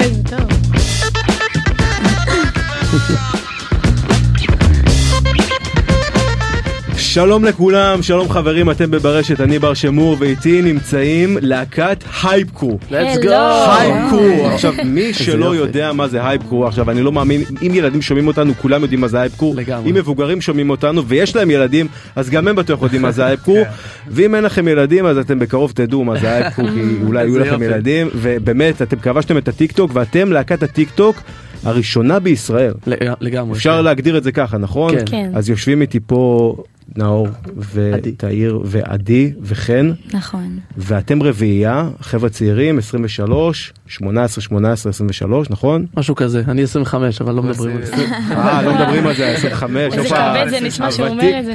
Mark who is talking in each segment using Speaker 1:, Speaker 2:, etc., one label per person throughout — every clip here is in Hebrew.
Speaker 1: איזה טוב.
Speaker 2: שלום לכולם, שלום חברים, אתם בברשת, אני בר שמור, ואיתי נמצאים להקת הייפקו.
Speaker 1: Let's go.
Speaker 2: הייפקו! עכשיו, מי שלא
Speaker 3: אה. יופי.
Speaker 2: יודע מה זה הייפקו, עכשיו, אני לא מאמין, אם ילדים שומעים אותנו, כולם יודעים מה זה הייפקו.
Speaker 3: לגמרי.
Speaker 2: אם מבוגרים שומעים אותנו, ויש להם ילדים, אז גם הם בטוח יודעים מה זה
Speaker 3: כן.
Speaker 2: הייפקו. ואם אין לכם ילדים, אז אתם בקרוב תדעו מה זה הייפקו, כי אולי יהיו
Speaker 3: איזה
Speaker 2: לכם
Speaker 3: יופי.
Speaker 2: ילדים. ובאמת, אתם כבשתם את הטיקטוק, ואתם להקת הטיקטוק הראשונה בישראל.
Speaker 3: לג- לגמרי.
Speaker 2: אפשר להגדיר את זה ככה נכון?
Speaker 3: כן.
Speaker 1: כן.
Speaker 2: אז יושבים איתי פה נאור
Speaker 3: עדי.
Speaker 2: ותאיר ועדי וחן
Speaker 1: נכון.
Speaker 2: ואתם רביעייה חבר'ה צעירים 23 18 18 23 נכון?
Speaker 3: משהו כזה, אני 25 אבל לא מדברים על זה.
Speaker 2: אה לא מדברים על זה 25.
Speaker 1: נכון. איזה
Speaker 2: הופה,
Speaker 1: כבד זה נשמע שהוא
Speaker 2: הוותיק-
Speaker 1: אומר את זה.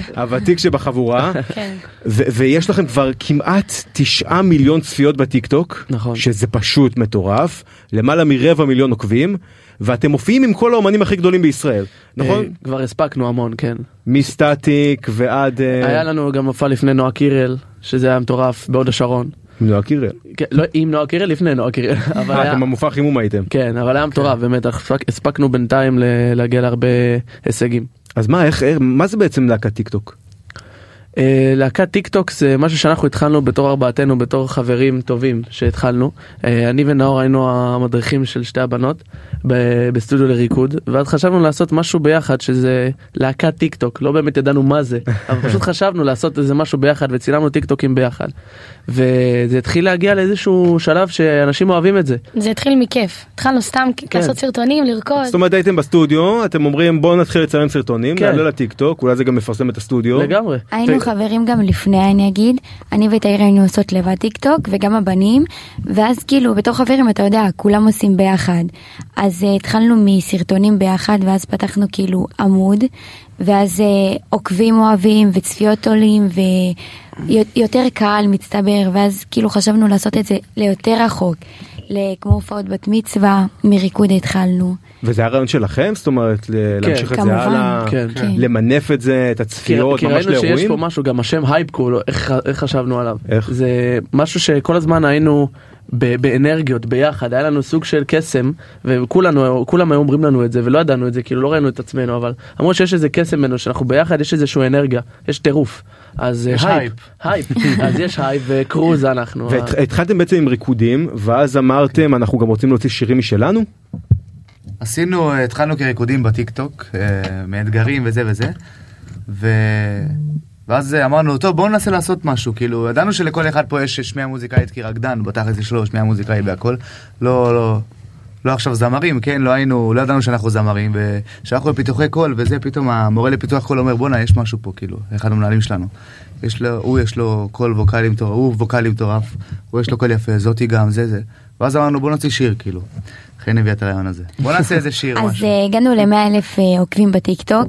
Speaker 2: הוותיק שבחבורה
Speaker 1: כן.
Speaker 2: ו- ויש לכם כבר כמעט 9 מיליון צפיות בטיקטוק
Speaker 3: נכון.
Speaker 2: שזה פשוט מטורף למעלה מרבע מיליון עוקבים ואתם מופיעים עם כל האומנים הכי גדולים בישראל נכון?
Speaker 3: אה, כבר הספקנו המון, כן.
Speaker 2: מסטטיק ועד אה,
Speaker 3: היה לנו גם מופע לפני נועה קירל, שזה היה מטורף, בהוד השרון.
Speaker 2: נועה קירל.
Speaker 3: כן, לא עם נועה קירל, לפני נועה קירל.
Speaker 2: אה,
Speaker 3: אבל היה-
Speaker 2: אתם אוקיי. במופע חימום הייתם.
Speaker 3: כן, אבל היה מטורף, באמת, הספק- הספקנו בינתיים ל- להגיע להרבה הישגים.
Speaker 2: אז מה, איך, איך- מה זה בעצם להקת טיק טוק?
Speaker 3: אה, להקת טיק טוק זה משהו שאנחנו התחלנו בתור ארבעתנו, בתור חברים טובים שהתחלנו. אה, אני ונאור היינו המדריכים של שתי הבנות ב- בסטודיו לריקוד, ואז חשבנו לעשות משהו ביחד שזה להקת טיק טוק, לא באמת ידענו מה זה, אבל פשוט חשבנו לעשות איזה משהו ביחד וצילמנו טיק טוקים ביחד. וזה התחיל להגיע לאיזשהו שלב שאנשים אוהבים את זה.
Speaker 1: זה התחיל מכיף. התחלנו סתם לעשות סרטונים, לרקוד.
Speaker 2: זאת אומרת הייתם בסטודיו, אתם אומרים בואו נתחיל לצלם סרטונים,
Speaker 3: כן.
Speaker 2: נעלה לטיק טוק, אולי זה גם מפרסם את הסטודיו.
Speaker 3: לגמרי.
Speaker 4: היינו
Speaker 2: ת-
Speaker 4: חברים גם לפני אני אגיד אני ותאיר היינו עושות לבד טיק טוק וגם הבנים ואז כאילו בתור חברים אתה יודע כולם עושים ביחד אז uh, התחלנו מסרטונים ביחד ואז פתחנו כאילו עמוד ואז uh, עוקבים אוהבים וצפיות עולים ויותר קהל מצטבר ואז כאילו חשבנו לעשות את זה ליותר רחוק ל- כמו הופעות בת מצווה מריקוד התחלנו.
Speaker 2: וזה הרעיון שלכם? זאת אומרת ל- להמשיך את
Speaker 4: כמובן.
Speaker 2: זה הלאה,
Speaker 3: כן.
Speaker 4: כן.
Speaker 2: למנף את זה, את
Speaker 3: כי
Speaker 2: הצפיות,
Speaker 3: כי
Speaker 2: ממש
Speaker 3: ראינו שיש פה
Speaker 2: לאירועים?
Speaker 3: משהו גם השם הייפ קול איך, איך חשבנו עליו
Speaker 2: איך?
Speaker 3: זה משהו שכל הזמן היינו ב, באנרגיות ביחד היה לנו סוג של קסם וכולנו כולם היו אומרים לנו את זה ולא ידענו את זה כאילו לא ראינו את עצמנו אבל אמרו שיש איזה קסם ממנו שאנחנו ביחד יש איזשהו אנרגיה יש טירוף אז אה,
Speaker 5: יש
Speaker 3: הייפ הייפ אז יש הייפ וקרוז אנחנו ה-
Speaker 2: והתחלתם בעצם עם ריקודים, ואז אמרתם אנחנו גם רוצים להוציא שירים משלנו?
Speaker 5: עשינו, אה, התחלנו כריקודים בטיקטוק, אה, מאתגרים וזה וזה, ו... ואז אה, אמרנו, טוב, בואו ננסה לעשות משהו, כאילו, ידענו שלכל אחד פה יש שמיעה מוזיקאית כרקדן, הוא פתח את זה שלו, שמיעה מוזיקאית והכל, לא, לא, לא עכשיו זמרים, כן, לא היינו, לא ידענו שאנחנו זמרים, ושאנחנו בפיתוחי קול, וזה פתאום המורה לפיתוח קול אומר, בואנה, יש משהו פה, כאילו, אחד המנהלים שלנו. יש לו, הוא יש לו קול ווקאלי מטורף, הוא ווקאלי מטורף, הוא יש לו קול יפה, זאתי גם, זה זה. ואז אמרנו, בוא נוציא שיר, כאילו. חן הביא את הרעיון הזה. בוא נעשה איזה שיר,
Speaker 4: אז
Speaker 5: משהו.
Speaker 4: אה, הגענו ל-100 אלף אה, עוקבים בטיקטוק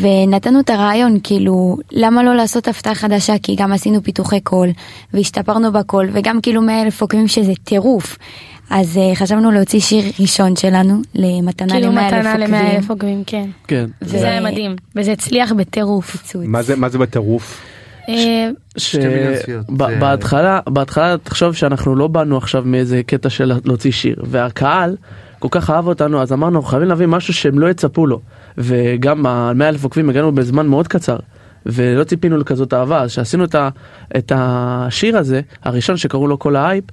Speaker 4: ונתנו את הרעיון כאילו למה לא לעשות הפתעה חדשה כי גם עשינו פיתוחי קול והשתפרנו בקול וגם כאילו 100 אלף עוקבים שזה טירוף. אז אה, חשבנו להוציא שיר ראשון שלנו למתנה
Speaker 1: כאילו
Speaker 4: ל-100 אלף
Speaker 1: מתנה למאה אלף
Speaker 4: עוקבים.
Speaker 1: עוקבים, כן.
Speaker 3: כן
Speaker 1: וזה היה מדהים. וזה הצליח בטירוף.
Speaker 4: פיצוץ.
Speaker 2: מה זה- מה זה בטירוף?
Speaker 1: אה,
Speaker 5: שתי מיליון צפיות, זה-
Speaker 3: שבהתחלה בהתחלה תחשוב שאנחנו לא באנו עכשיו מאיזה קטע של להוציא שיר והקהל כל כך אהב אותנו אז אמרנו "אנחנו חייבים להביא משהו שהם לא יצפו לו וגם ה-100 אלף עוקבים הגענו בזמן מאוד קצר. ולא ציפינו לכזאת אהבה אז שעשינו את, ה, את השיר הזה הראשון שקראו לו כל ההייפ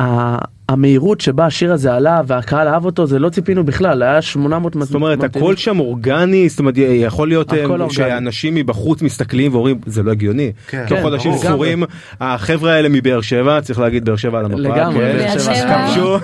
Speaker 3: ה- המהירות שבה השיר הזה עלה והקהל אהב אותו זה לא ציפינו בכלל היה 800
Speaker 2: זאת אומרת הכל שם אורגני, זאת אומרת יכול להיות
Speaker 3: הכל
Speaker 2: אה,
Speaker 3: אורגני.
Speaker 2: שאנשים מבחוץ מסתכלים ואומרים זה לא הגיוני.
Speaker 5: כן.
Speaker 2: תוך
Speaker 3: כן,
Speaker 2: חודשים
Speaker 3: ברור.
Speaker 2: ספורים החברה האלה מבאר שבע, צריך להגיד באר שבע על המפה.
Speaker 3: לגמרי,
Speaker 2: כן.
Speaker 3: באר
Speaker 1: שבע. שבע.
Speaker 2: כבשו-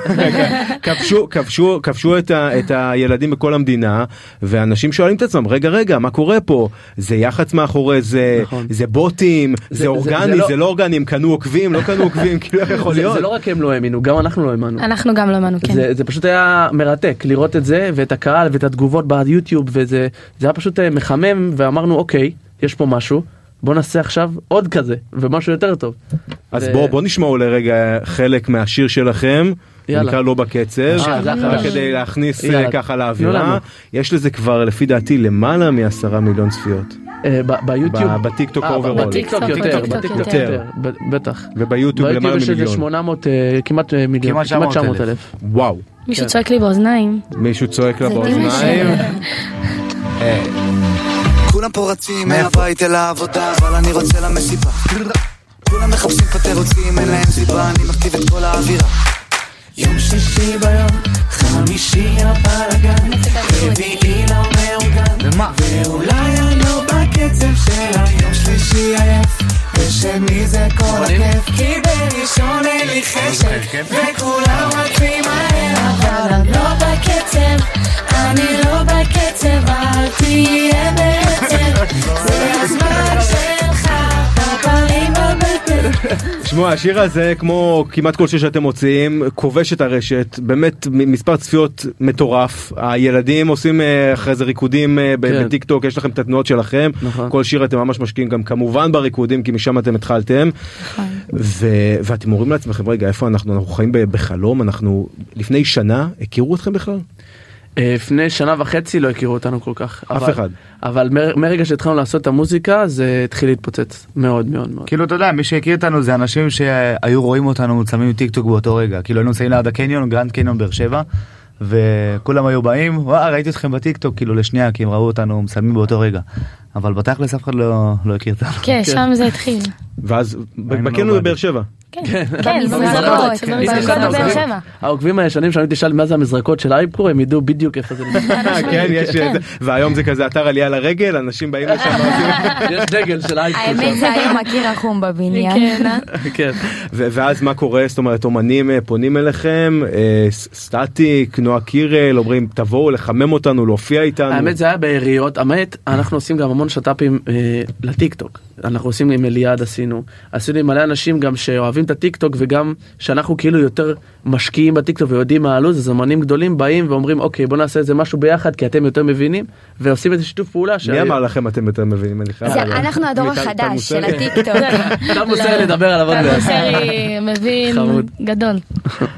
Speaker 2: כבשו, כבשו, כבשו את, ה, את הילדים בכל המדינה ואנשים שואלים את עצמם רגע רגע מה קורה פה זה יח"צ מאחורי זה,
Speaker 3: נכון.
Speaker 2: זה בוטים, זה,
Speaker 3: זה-
Speaker 2: אורגני, זה,
Speaker 3: זה- זה לא-
Speaker 2: לא אורגני, הם קנו עוקבים, לא קנו עוקבים, כאילו איך יכול
Speaker 3: זה,
Speaker 2: להיות?
Speaker 3: זה לא רק הם לא האמינו גם אנחנו אנחנו לא האמנו.
Speaker 1: אנחנו גם לא האמנו, כן.
Speaker 3: זה, זה פשוט היה מרתק לראות את זה ואת הקהל ואת התגובות ביוטיוב וזה זה היה פשוט אה, מחמם ואמרנו אוקיי יש פה משהו בוא נעשה עכשיו עוד כזה ומשהו יותר טוב.
Speaker 2: אז
Speaker 3: זה-
Speaker 2: בואו בוא נשמעו לרגע חלק מהשיר שלכם.
Speaker 3: יאללה.
Speaker 2: יאללה. נקרא לא בקצב,
Speaker 3: אה, זה
Speaker 2: רק
Speaker 3: החדש.
Speaker 2: כדי להכניס אה,
Speaker 3: יאללה.
Speaker 2: ככה
Speaker 3: תנו לנו.
Speaker 2: לאווירה. יש לזה כבר לפי דעתי למעלה מעשרה מיליון צפיות.
Speaker 3: אה, ב- ביוטיוב.
Speaker 2: ב- בטיקטוק
Speaker 3: אה, ב-
Speaker 2: overall.
Speaker 3: בטיקטוק
Speaker 1: בטיקטוק
Speaker 3: יותר,
Speaker 1: יותר.
Speaker 3: בטיקטוק יותר, ב- בטח. לא
Speaker 2: וביוטיוב למעלה
Speaker 3: ביוטיוב יש איזה
Speaker 2: ממיליון.
Speaker 3: 800 אה, כמעט אה, מיליון,
Speaker 5: כמעט 900,000.
Speaker 3: אלף.
Speaker 2: וואו,
Speaker 1: מישהו צועק לי באוזניים.
Speaker 2: מישהו צועק לה
Speaker 4: זה
Speaker 2: באוזניים.
Speaker 1: אה,
Speaker 6: כולם פה רצים מהבית אל העבודה, אבל אני רוצה למסיבה. כולם מחפשים פטר רוצים, אין להם סיבה, אני מכתיב את כל האווירה. יום שישי ביום, חמישי הבלאגן, רביעי לא מאורגן,
Speaker 5: ומה?
Speaker 6: ואולי אני לא בקצב של היום שלישי עייף, ושני זה כל הכיף, כי בראשון אין לי חשק, וכולם רצים מהר, אבל אני לא בקצב, אני לא בקצב, אל תהיה בעצב, זה הזמן שלך, הפרים בבטן.
Speaker 2: תשמעו, השיר הזה, כמו כמעט כל שיר שאתם מוציאים, כובש את הרשת, באמת מ- מספר צפיות מטורף. הילדים עושים אה, אחרי זה ריקודים אה, ב-
Speaker 3: כן.
Speaker 2: בטיק טוק, יש לכם את התנועות שלכם.
Speaker 3: נכון.
Speaker 2: כל שיר אתם ממש משקיעים גם כמובן בריקודים, כי משם אתם התחלתם. ו- ואתם אומרים לעצמכם, רגע, איפה אנחנו? אנחנו חיים ב- בחלום, אנחנו לפני שנה, הכירו אתכם בכלל?
Speaker 3: אה, לפני שנה וחצי לא הכירו אותנו כל כך.
Speaker 2: אף
Speaker 3: אבל-
Speaker 2: אחד.
Speaker 3: אבל מר- מרגע שהתחלנו לעשות את המוזיקה זה התחיל להתפוצץ מאוד מאוד מאוד.
Speaker 5: כאילו אתה יודע מי שהכיר אותנו זה אנשים שהיו רואים אותנו צמים טיק טוק באותו רגע כאילו היינו נמצאים ליד הקניון גרנד קניון באר שבע וכולם היו באים וואה ראיתי אתכם בטיק טוק כאילו לשנייה כי הם ראו אותנו מצלמים באותו רגע אבל בתכלס אף אחד לא לא הכיר אותנו.
Speaker 1: כן, שם זה התחיל.
Speaker 2: ואז ב-
Speaker 5: היינו
Speaker 2: בקניון
Speaker 5: נורא
Speaker 2: בבאר שבע.
Speaker 1: כן, כן,
Speaker 4: במזרקות.
Speaker 1: במזרקות, במזרקות
Speaker 3: כן.
Speaker 1: בבאר שבע.
Speaker 3: העוקבים הישנים שלנו תשאל מה זה המזרקות של אייפרו הם ידעו בדיוק איפה זה. נמצא.
Speaker 2: כן, יש את זה. והיום זה כזה אתר עלייה לרגל, אנשים באים לשם.
Speaker 3: יש דגל של אייפרו.
Speaker 4: האמת
Speaker 3: שם.
Speaker 4: זה היום הקיר החום בבניין.
Speaker 1: כן.
Speaker 3: כן.
Speaker 2: ו- ואז מה קורה זאת אומרת אומנים אה, פונים אליכם אה, ס- סטטיק נועה קירל אומרים תבואו לחמם אותנו להופיע איתנו.
Speaker 3: האמת זה היה בעיריות, האמת אנחנו עושים גם המון שת"פים אה, לטיקטוק, אנחנו עושים עם אליעד עשינו, עשינו עם מלא אנשים גם שאוהבים את הטיקטוק וגם שאנחנו כאילו יותר משקיעים בטיקטוק ויודעים מה הלו"ז, אז אמנים גדולים באים ואומרים אוקיי בוא נעשה איזה משהו ביחד כי אתם יותר מבינים ועושים איזה שיתוף פעולה.
Speaker 2: מי אמר לכם אתם יותר מבינים? אני חייב
Speaker 4: זה-
Speaker 2: לדעת.
Speaker 4: אנחנו הדור
Speaker 2: מי, כן. טל- טל
Speaker 4: החדש של
Speaker 2: מוסרי?
Speaker 4: הטיקטוק.
Speaker 3: אתה מוסר לדבר עליו עוד
Speaker 1: תמי
Speaker 3: מעט.
Speaker 1: מוסרי מבין
Speaker 3: חמוד.
Speaker 1: אוקיי. גדול.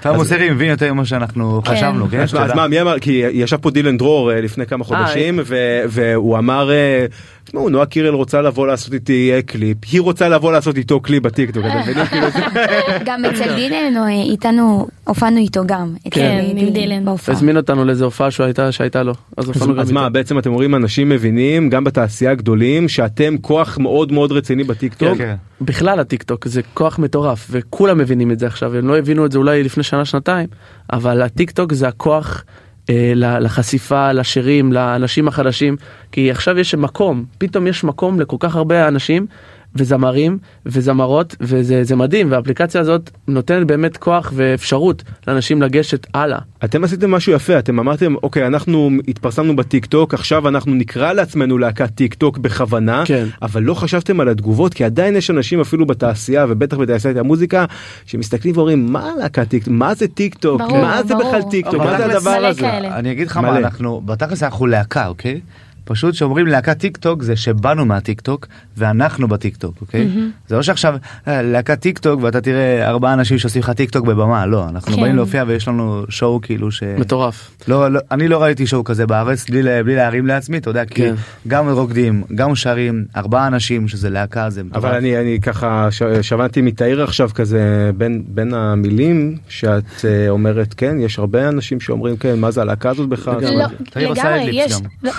Speaker 5: אתה מוסרי מבין יותר ממה שאנחנו
Speaker 1: כן.
Speaker 5: חשבנו כן.
Speaker 2: אז מה- אז
Speaker 5: שתדע.
Speaker 2: מה מי אמר כי ישב פה דילן דרור אה, לפני כמה חודשים ו- והוא אמר אה, תשמעו נועה קירל רוצה לבוא לעשות איתי אה, קליפ היא רוצה לבוא לעשות איתו קליפ בטיקטוק אתם מבינים? כאילו, זה-
Speaker 4: גם אצל דילן אה, איתנו, הופענו איתו גם. אצל
Speaker 1: כן, עם דילן.
Speaker 4: בהופעה.
Speaker 3: הזמין אותנו לאיזה הופעה שהוא הייתה- שהייתה לו, אז
Speaker 2: אז-
Speaker 3: הופענו גם
Speaker 2: אז מה
Speaker 3: איתו.
Speaker 2: בעצם אתם אומרים אנשים מבינים גם בתעשייה הגדולים שאתם כוח מאוד מאוד רציני בטיקטוק.
Speaker 5: כן.
Speaker 3: בכלל הטיקטוק זה כוח מטורף וכולם מבינים את זה עכשיו הם לא הבינו את זה אולי לפני שנה שנתיים אבל הטיקטוק זה הכוח אה, ל- לחשיפה לשירים לאנשים החדשים כי עכשיו יש מקום פתאום יש מקום לכל כך הרבה אנשים וזמרים וזמרות וזה זה מדהים והאפליקציה הזאת נותנת באמת כוח ואפשרות לאנשים לגשת הלאה.
Speaker 2: אתם עשיתם משהו יפה אתם אמרתם אוקיי אנחנו התפרסמנו בטיק טוק עכשיו אנחנו נקרא לעצמנו להקת טיק טוק בכוונה
Speaker 3: כן.
Speaker 2: אבל לא חשבתם על התגובות כי עדיין יש אנשים אפילו בתעשייה ובטח בתעשיית המוזיקה שמסתכלים ואומרים מה להקת טיק טוק מה זה טיק טוק
Speaker 1: ברור,
Speaker 2: מה זה
Speaker 1: ברור.
Speaker 2: בכלל טיק טוק
Speaker 5: אבל
Speaker 2: מה זה
Speaker 5: בתכלס
Speaker 2: הדבר
Speaker 1: מלא
Speaker 2: הזה
Speaker 1: כאלה.
Speaker 5: אני אגיד לך
Speaker 2: מלא.
Speaker 5: מה אנחנו בתכלס אנחנו להקה אוקיי פשוט שאומרים להקת טיק טוק זה שבאנו מהטיק טוק ואנחנו בטיק טוק אוקיי זה לא שעכשיו אה, להקת טיק טוק ואתה תראה ארבעה אנשים שעושים לך טיק טוק בבמה לא אנחנו
Speaker 1: כן.
Speaker 5: באים להופיע ויש לנו שואו כאילו ש...
Speaker 3: כן. מטורף.
Speaker 5: לא, לא, אני לא ראיתי שואו כזה בארץ בלי, לה- בלי להרים לעצמי, אתה יודע, כי
Speaker 3: כן.
Speaker 5: גם רוקדים, גם שרים, ארבעה אנשים שזה להקה, זה מטורף.
Speaker 2: אבל אני אני ככה ש- שבנתי מתאיר עכשיו כזה בין בין המילים שאת אה, אומרת כן יש הרבה אנשים שאומרים כן מה זה הלהקה הזאת בכלל.
Speaker 3: לגמרי.
Speaker 2: זאת
Speaker 1: לא,
Speaker 2: אומרת,
Speaker 5: תמיד עושה
Speaker 1: לגמרי,
Speaker 5: אדליפס
Speaker 1: יש-
Speaker 5: גם.
Speaker 1: לא.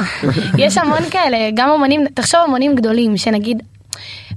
Speaker 1: יש המון כאלה, גם אומנים, תחשוב אומנים גדולים, שנגיד,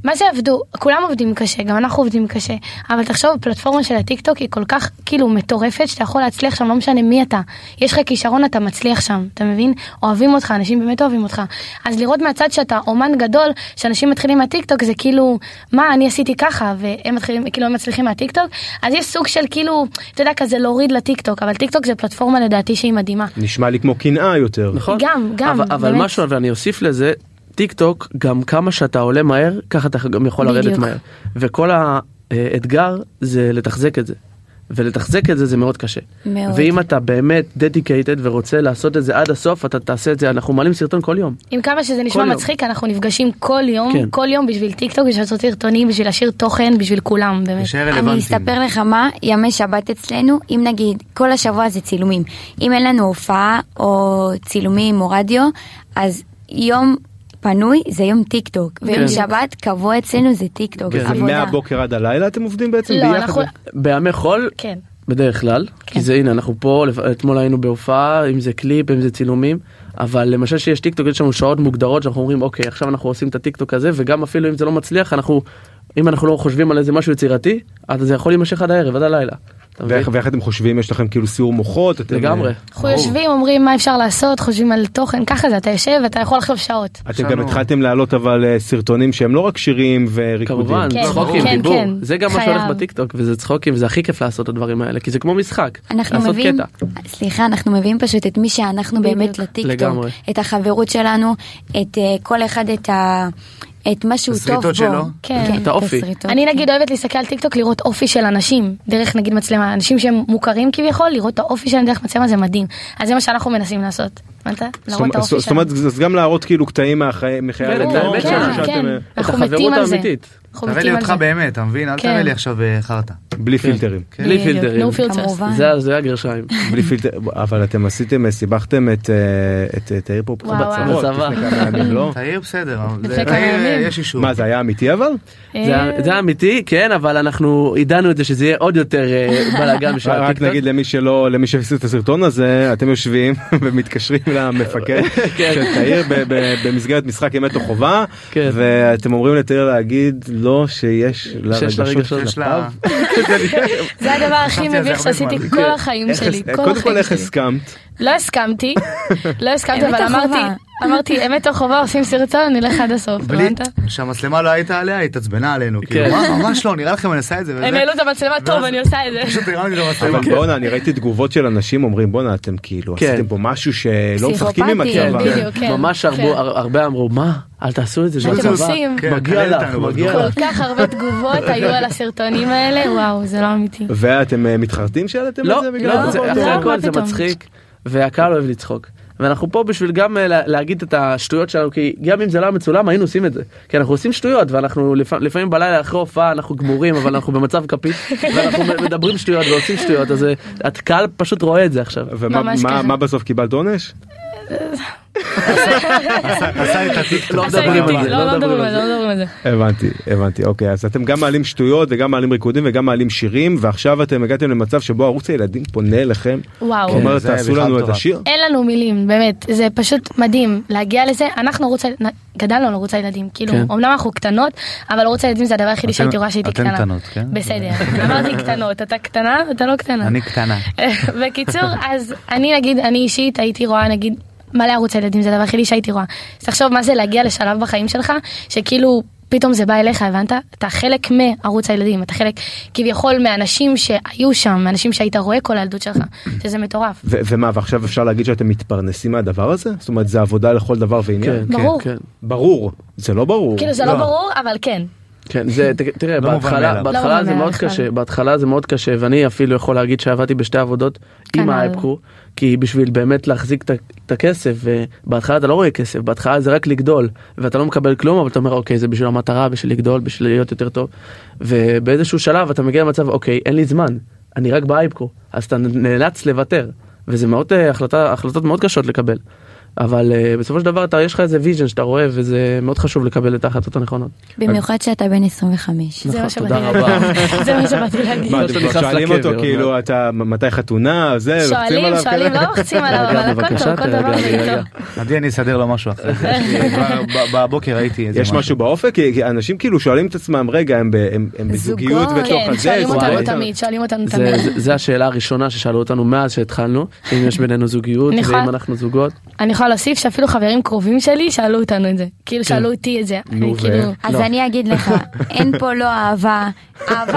Speaker 1: מה זה עבדו, כולם עובדים קשה, גם אנחנו עובדים קשה, אבל תחשוב, הפלטפורמה של הטיקטוק היא כל כך כאילו מטורפת, שאתה יכול להצליח שם, לא משנה מי אתה, יש לך כישרון, אתה מצליח שם, אתה מבין? אוהבים אותך, אנשים באמת אוהבים אותך. אז לראות מהצד שאתה אומן גדול, שאנשים מתחילים מהטיקטוק, זה כאילו, מה, אני עשיתי ככה, והם מתחילים, כאילו, הם מצליחים מהטיקטוק, אז יש סוג של כאילו, אתה יודע, כזה להוריד לטיקטוק, אבל טיקטוק זה פלטפורמה לדעתי שהיא מדהימה.
Speaker 2: נשמע לי כמו קנאה יותר.
Speaker 3: נכון?
Speaker 1: גם, גם,
Speaker 3: אבל, אבל
Speaker 1: באמת.
Speaker 3: משהו, ואני אוסיף לזה, טיק טוק, גם כמה שאתה עולה מהר, ככה אתה גם יכול לרדת
Speaker 1: בדיוק.
Speaker 3: מהר. וכל האתגר זה לתחזק את זה. ולתחזק את זה זה מאוד קשה.
Speaker 4: מאוד.
Speaker 3: ואם אתה באמת dedicated ורוצה לעשות את זה עד הסוף, אתה תעשה את זה, אנחנו מעלים סרטון כל יום.
Speaker 1: עם כמה שזה נשמע
Speaker 3: יום.
Speaker 1: מצחיק, אנחנו נפגשים כל יום,
Speaker 3: כן.
Speaker 1: כל יום בשביל טיק טוק, בשביל לעשות סרטונים, בשביל להשאיר תוכן, בשביל כולם, באמת.
Speaker 5: נשאר
Speaker 4: אני
Speaker 5: רלוונטיים.
Speaker 4: אספר לך מה ימי שבת אצלנו, אם נגיד כל השבוע זה צילומים. אם אין לנו הופעה או צילומים או רדיו, אז יום פנוי זה יום טיק טוק. ויום
Speaker 3: כן.
Speaker 4: שבת קבוע אצלנו זה טיק טוק,
Speaker 3: וזה
Speaker 4: עבודה.
Speaker 2: מהבוקר עד הלילה אתם עובדים בעצם
Speaker 1: כן. לא,
Speaker 2: ביחד?
Speaker 1: אנחנו...
Speaker 3: בימי חול,
Speaker 1: כן.
Speaker 3: בדרך כלל, כי זה הנה אנחנו פה, לפ- אתמול היינו בהופעה, אם זה קליפ, אם זה צילומים, אבל למשל שיש טיקטוק יש לנו שעות מוגדרות שאנחנו אומרים אוקיי עכשיו אנחנו עושים את הטיקטוק הזה וגם אפילו אם זה לא מצליח אנחנו, אם אנחנו לא חושבים על איזה משהו יצירתי, אז זה יכול להימשך עד הערב, עד הלילה. אתה מבין?
Speaker 2: ואיך ואיך אתם חושבים יש לכם כאילו סיור מוחות? אתם-
Speaker 3: לגמרי.
Speaker 1: אנחנו יושבים, אומרים מה אפשר לעשות, חושבים על תוכן, ככה זה, אתה יושב ואתה יכול לחשוב שעות.
Speaker 2: אתם גם
Speaker 3: לא-
Speaker 5: שלום.
Speaker 2: התחלתם להעלות אבל אה, סרטונים שהם לא רק שירים וריקודים.
Speaker 3: כמובן,
Speaker 1: כן,
Speaker 3: צחוקים,
Speaker 1: כן,
Speaker 3: דיבור,
Speaker 1: כן,
Speaker 3: זה גם מה
Speaker 1: חייב.
Speaker 3: שהולך בטיקטוק וזה צחוקים, וזה הכי כיף לעשות את הדברים האלה, כי זה כמו משחק,
Speaker 4: אנחנו
Speaker 3: לעשות
Speaker 4: מביאים,
Speaker 3: קטע.
Speaker 4: סליחה, אנחנו מביאים פשוט את מי שאנחנו באמת לטיקטוק,
Speaker 3: לגמרי.
Speaker 4: את החברות שלנו, את אה, כל אחד את ה... את מה שהוא טוב
Speaker 5: הסריטות
Speaker 4: בו.
Speaker 5: שלו.
Speaker 1: כן.
Speaker 4: כן,
Speaker 3: את האופי.
Speaker 4: הסריטות,
Speaker 1: אני
Speaker 4: כן.
Speaker 1: נגיד אוהבת להסתכל על טיקטוק לראות אופי של אנשים, דרך נגיד מצלמה, אנשים שהם מוכרים כביכול, לראות את האופי שלהם דרך מצלמה זה מדהים. אז זה מה שאנחנו מנסים לעשות. הבנת?
Speaker 2: זאת
Speaker 1: להראות את
Speaker 2: אומרת-
Speaker 1: האופי
Speaker 2: זאת אומרת
Speaker 1: שלהם.
Speaker 2: אז גם להראות כאילו קטעים מהחיי- מחיי
Speaker 3: כן, את
Speaker 2: הלילה.
Speaker 3: האמת
Speaker 2: כן,
Speaker 3: שלנו.
Speaker 2: שאתם, אה,
Speaker 3: את
Speaker 1: אנחנו
Speaker 3: החברות
Speaker 1: מתים על זה.
Speaker 3: האמיתית.
Speaker 1: אנחנו
Speaker 5: תראה לי
Speaker 1: מתים על
Speaker 5: אותך
Speaker 1: זה.
Speaker 5: באמת, אתה מבין? אל
Speaker 1: כן.
Speaker 5: תראה לי עכשיו אה, חרטא.
Speaker 2: בלי
Speaker 3: כן.
Speaker 2: פילטרים.
Speaker 3: בלי
Speaker 4: בדיוק,
Speaker 3: פילטרים.
Speaker 1: no filters.
Speaker 4: כמובן.
Speaker 3: זה- זה הגרשיים.
Speaker 2: בלי פילטר, אבל אתם עשיתם, אה, סיבכתם את אה, את- את העיר פה
Speaker 1: וואו, וואו.
Speaker 2: בצרות
Speaker 3: בצבא.
Speaker 2: לפני כמה ימים, לא?
Speaker 5: תעיר בסדר, אבל
Speaker 1: לפני כמה
Speaker 5: תעיר אה,
Speaker 1: ימים.
Speaker 5: יש אישור.
Speaker 2: מה זה היה אמיתי אבל?
Speaker 1: אה,
Speaker 3: זה היה-
Speaker 2: אה,
Speaker 3: זה היה אמיתי כן אבל אנחנו ידענו את זה שזה יהיה עוד יותר אה, בלאגן של
Speaker 2: רק
Speaker 3: הטיקטוק.
Speaker 2: נגיד למי שלא, למי שהפסיד את הסרטון הזה, אתם יושבים ומתקשרים למפקד של תאיר ב- ב- במסגרת משחק אמת או חובה,
Speaker 3: כן.
Speaker 2: ואתם אומרים לתאיר להגיד לא שיש לה
Speaker 3: שיש לה
Speaker 2: רגשות
Speaker 3: רגשות.
Speaker 5: יש לה...
Speaker 1: זה הדבר הכי
Speaker 5: חשבתי על זה
Speaker 1: מביך
Speaker 5: הרבה
Speaker 1: שעשיתי
Speaker 5: זמן.
Speaker 1: כל החיים
Speaker 2: איך
Speaker 1: שלי.
Speaker 2: הס-
Speaker 1: כל
Speaker 2: קודם כל
Speaker 1: החיים
Speaker 2: איך
Speaker 1: שלי.
Speaker 2: הסכמת?
Speaker 1: לא הסכמתי, לא הסכמתי,
Speaker 4: אמת
Speaker 1: אבל
Speaker 4: או חובה?
Speaker 1: אמרתי, אמרתי, אמת או חובה עושים סרטון, נלך עד הסוף,
Speaker 5: בלי...
Speaker 1: הבנת?
Speaker 5: שהמצלמה לא הייתה עליה, היא התעצבנה עלינו. כאילו,
Speaker 3: כן.
Speaker 5: מה, ממש לא, נראה לכם אני עושה את זה. וזה.
Speaker 1: הם העלו את המצלמה, טוב,
Speaker 5: ואז-
Speaker 1: אני עושה את זה.
Speaker 5: פשוט הרמתי את המצלמה.
Speaker 2: אבל בואנה אני ראיתי תגובות של אנשים אומרים בואנה אתם כאילו
Speaker 3: כן.
Speaker 2: עשיתם פה משהו שלא משחקים עם
Speaker 4: פסיכופטי,
Speaker 2: הצבא.
Speaker 1: בדיוק. כן,
Speaker 3: ממש
Speaker 1: כן.
Speaker 3: הרבו- הר- הרבה אמרו מה אל תעשו את זה. זה
Speaker 1: אתם
Speaker 3: צבא."
Speaker 1: עושים?
Speaker 5: כן,
Speaker 3: מגיע
Speaker 5: תעיר
Speaker 3: לך
Speaker 5: אותנו,
Speaker 3: מגיע
Speaker 2: נכון.
Speaker 1: כל
Speaker 3: לך.
Speaker 1: כך הרבה תגובות היו על הסרטונים האלה, וואו, זה לא אמיתי.
Speaker 2: ואתם אה, מתחרטים שהעליתם את
Speaker 3: לא
Speaker 2: זה בגלל
Speaker 3: לא,
Speaker 2: זה?
Speaker 3: זה-
Speaker 1: לא,
Speaker 3: אחרי
Speaker 1: מה
Speaker 3: הכל זה
Speaker 1: פתאום?
Speaker 3: מצחיק והקהל אוהב לצחוק. ואנחנו פה בשביל גם אה, לה- להגיד את השטויות שלנו כי גם אם זה לא היה מצולם היינו עושים את זה כי אנחנו עושים שטויות ואנחנו לפ- לפעמים בלילה אחרי הופעה אנחנו גמורים אבל אנחנו במצב כפית ואנחנו מדברים שטויות ועושים שטויות אז אה, הקהל פשוט רואה את זה עכשיו.
Speaker 2: ומה
Speaker 1: ממש
Speaker 2: מה-
Speaker 1: ככה.
Speaker 2: מה בסוף קיבלת עונש?
Speaker 5: עשה את הטיקטוק.
Speaker 3: לא
Speaker 1: עשה
Speaker 3: מדברים
Speaker 1: איתי,
Speaker 3: על זה,
Speaker 1: לא, לא מדברים על זה, לא מדברים על זה.
Speaker 2: כן. הבנתי הבנתי אוקיי אז אתם גם מעלים שטויות וגם מעלים ריקודים וגם מעלים שירים ועכשיו אתם הגעתם למצב שבו ערוץ הילדים פונה אליכם
Speaker 1: וואו.
Speaker 2: הוא אומר
Speaker 5: זה
Speaker 2: תעשו
Speaker 5: בכלל
Speaker 2: לנו את
Speaker 5: מטורף."
Speaker 2: השיר.
Speaker 1: אין לנו מילים, באמת, זה פשוט מדהים להגיע לזה. אנחנו ערוץ, ה- גדלנו על ערוץ הילדים, כאילו,
Speaker 3: כן.
Speaker 1: אמנם אנחנו קטנות, אבל ערוץ הילדים זה הדבר היחידי
Speaker 5: אתם-
Speaker 1: שהייתי רואה שהייתי
Speaker 5: אתן
Speaker 1: קטנה.
Speaker 5: קטנות, כן?
Speaker 1: בסדר, אמרתי קטנות, אתה קטנה, אתה לא קטנה.
Speaker 5: אני קטנה.
Speaker 1: בקיצור, אז אני נגיד, אני אישית הייתי רואה נגיד מלא ערוץ הילדים, זה הדבר היחידי שהייתי רואה. אז תחשוב מה זה להגיע לשלב בחיים שלך, שכאילו פתאום זה בא אליך, הבנת? אתה חלק מערוץ הילדים, אתה חלק כביכול מהאנשים שהיו שם, מהאנשים שהיית רואה כל הילדות שלך, שזה מטורף.
Speaker 2: ו- ומה ועכשיו אפשר להגיד שאתם מתפרנסים מהדבר הזה? זאת אומרת זה עבודה לכל דבר ועניין?
Speaker 3: כן,
Speaker 1: ברור.
Speaker 3: כן, כן.
Speaker 2: ברור. זה לא ברור.
Speaker 1: כאילו זה לא ברור, אבל כן.
Speaker 3: כן, זה, ת- תראה,
Speaker 5: לא מובן
Speaker 3: בהתחלה,
Speaker 5: מאליו.
Speaker 1: לא
Speaker 3: בהתחלה
Speaker 1: מובן
Speaker 3: זה
Speaker 1: מאליו
Speaker 3: מאוד
Speaker 1: בכלל.
Speaker 3: קשה, בהתחלה זה מאוד קשה, ואני אפילו יכול להגיד שעבדתי בשתי עבודות עם
Speaker 1: כנ"ל.
Speaker 3: האייפקו, כי בשביל באמת להחזיק את ה- את הכסף, ובהתחלה אתה לא רואה כסף, בהתחלה זה רק לגדול, ואתה לא מקבל כלום, אבל אתה אומר, אוקיי, זה בשביל המטרה, בשביל לגדול, בשביל להיות יותר טוב, ובאיזשהו שלב אתה מגיע למצב, אוקיי, אין לי זמן, אני רק באייפקו, אז אתה נאלץ לוותר, וזה מאוד אה, החלטה, החלטות מאוד קשות לקבל. אבל uh, בסופו של דבר אתה יש לך איזה ויז'ן שאתה רואה וזה מאוד חשוב לקבל את ההחלטות הנכונות.
Speaker 4: במיוחד שאתה בן 25.
Speaker 1: זה מה
Speaker 3: נכון,
Speaker 1: שבאתי
Speaker 3: תודה
Speaker 1: להגיד. זה מה שבאתי להגיד.
Speaker 2: מה
Speaker 3: לא
Speaker 2: אתם
Speaker 3: שאתה
Speaker 2: כבר
Speaker 3: נכנס
Speaker 2: שואלים
Speaker 3: לקבר,
Speaker 2: אותו
Speaker 3: אבל-
Speaker 2: כאילו אתה מתי חתונה זה לוחצים
Speaker 1: שואלים,
Speaker 2: עליו
Speaker 1: שואלים,
Speaker 2: כאלה?
Speaker 1: לא לוחצים עליו, אבל
Speaker 3: רגע,
Speaker 1: הכל טוב,
Speaker 3: בבקשה,
Speaker 1: כל דבר
Speaker 3: תרגע,
Speaker 1: זה
Speaker 3: תרגע.
Speaker 1: איתו.
Speaker 5: עדי אני אסדר לו משהו אחרי זה. יש לי- כבר ב- בבוקר ראיתי איזה
Speaker 2: יש משהו באופק כי כי אנשים כאילו שואלים את עצמם רגע הם ב- הם- הם בזוגיות
Speaker 4: זוגות.
Speaker 2: בתוך
Speaker 1: כן,
Speaker 2: הזה.
Speaker 1: שואלים
Speaker 2: זוגות.
Speaker 1: אותנו
Speaker 3: וואי.
Speaker 1: תמיד, שואלים אותנו
Speaker 3: זה,
Speaker 1: תמיד.
Speaker 3: זה, זה השאלה הראשונה ששאלו אותנו מאז שהתחלנו, אם יש בינינו זוגיות
Speaker 1: אני יכולה-
Speaker 3: ואם אנחנו זוגות.
Speaker 1: אני יכולה יכולה להוסיף שאפילו חברים קרובים שלי שאלו אותנו את זה. כאילו שאלו אותי את זה.
Speaker 2: נו,
Speaker 1: אני
Speaker 2: ו-
Speaker 1: כאילו...
Speaker 4: אז
Speaker 3: לא.
Speaker 4: אני אגיד לך, אין פה לא אהבה, אהבה,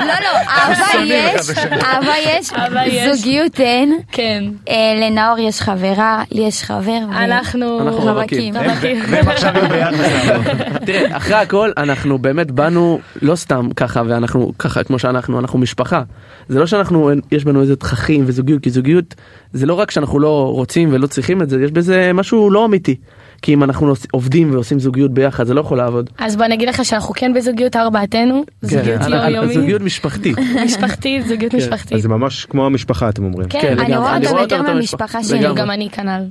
Speaker 4: לא, לא, אהבה יש, אהבה יש,
Speaker 1: אהבה יש.
Speaker 4: זוגיות אין,
Speaker 1: כן.
Speaker 4: אה, לנאור יש חברה, לי יש חבר, ו-
Speaker 1: אנחנו...
Speaker 3: אנחנו רווקים.
Speaker 1: רווקים.
Speaker 5: והם עכשיו יהיו ביחד.
Speaker 3: תראה, אחרי הכל אנחנו באמת באנו לא סתם ככה ואנחנו ככה כמו שאנחנו אנחנו משפחה. זה לא שאנחנו יש בנו איזה תככים וזוגיות כי זוגיות זה לא רק שאנחנו לא רוצים ולא צריכים את זה יש בזה משהו לא אמיתי. כי אם אנחנו עוש- עובדים ועושים זוגיות ביחד זה לא יכול לעבוד.
Speaker 1: אז בוא נגיד לך שאנחנו כן בזוגיות ארבעתנו. זוגיות
Speaker 3: כן,
Speaker 1: יום
Speaker 3: אנחנו-
Speaker 1: יומית.
Speaker 3: זוגיות משפחתית.
Speaker 1: כן, משפחתית, זוגיות משפחתית.
Speaker 2: אז זה ממש כמו המשפחה אתם אומרים.
Speaker 1: כן,
Speaker 3: כן,
Speaker 4: אני
Speaker 3: לגמרי.
Speaker 4: רואה אותם
Speaker 3: רואה
Speaker 4: יותר
Speaker 3: אותם
Speaker 4: מהמשפחה
Speaker 3: משפחה.
Speaker 4: שלי.
Speaker 3: לגמרי.
Speaker 1: גם אני כנ"ל.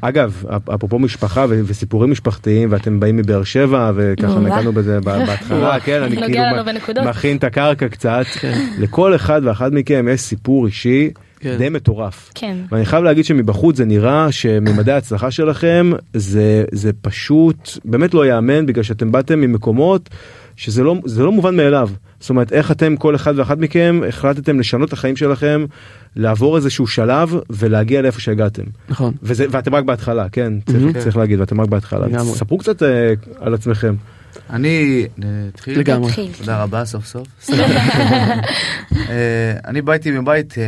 Speaker 2: אגב, אפ- אפרופו משפחה ו- וסיפורים משפחתיים, ואתם באים מבאר שבע, וככה
Speaker 4: וואו.
Speaker 2: נגענו בזה ב- בהתחלה, כן, אני
Speaker 1: נוגע
Speaker 2: כאילו
Speaker 1: לנו
Speaker 2: מ-
Speaker 1: בנקודות. כן.
Speaker 2: מכין את הקרקע קצת. לכל אחד ואחת מכם יש סיפור אישי
Speaker 3: כן.
Speaker 2: די מטורף.
Speaker 1: כן.
Speaker 2: ואני חייב להגיד שמבחוץ זה נראה שממדי ההצלחה שלכם זה, זה פשוט באמת לא ייאמן בגלל שאתם באתם ממקומות שזה לא, זה לא מובן מאליו. זאת אומרת איך אתם כל אחד ואחת מכם החלטתם לשנות את החיים שלכם לעבור איזשהו שלב ולהגיע לאיפה שהגעתם.
Speaker 3: נכון.
Speaker 2: וזה, ואתם רק בהתחלה כן
Speaker 5: Mhm.
Speaker 2: צריך,
Speaker 3: מהמם.
Speaker 2: צריך להגיד ואתם רק בהתחלה.
Speaker 3: לגמרי.
Speaker 2: ספרו קצת אה, על עצמכם.
Speaker 5: אני אה, אתחיל.
Speaker 3: לגמרי.
Speaker 4: התחיל.
Speaker 5: תודה רבה סוף סוף. אה, אני באתי מבית אה,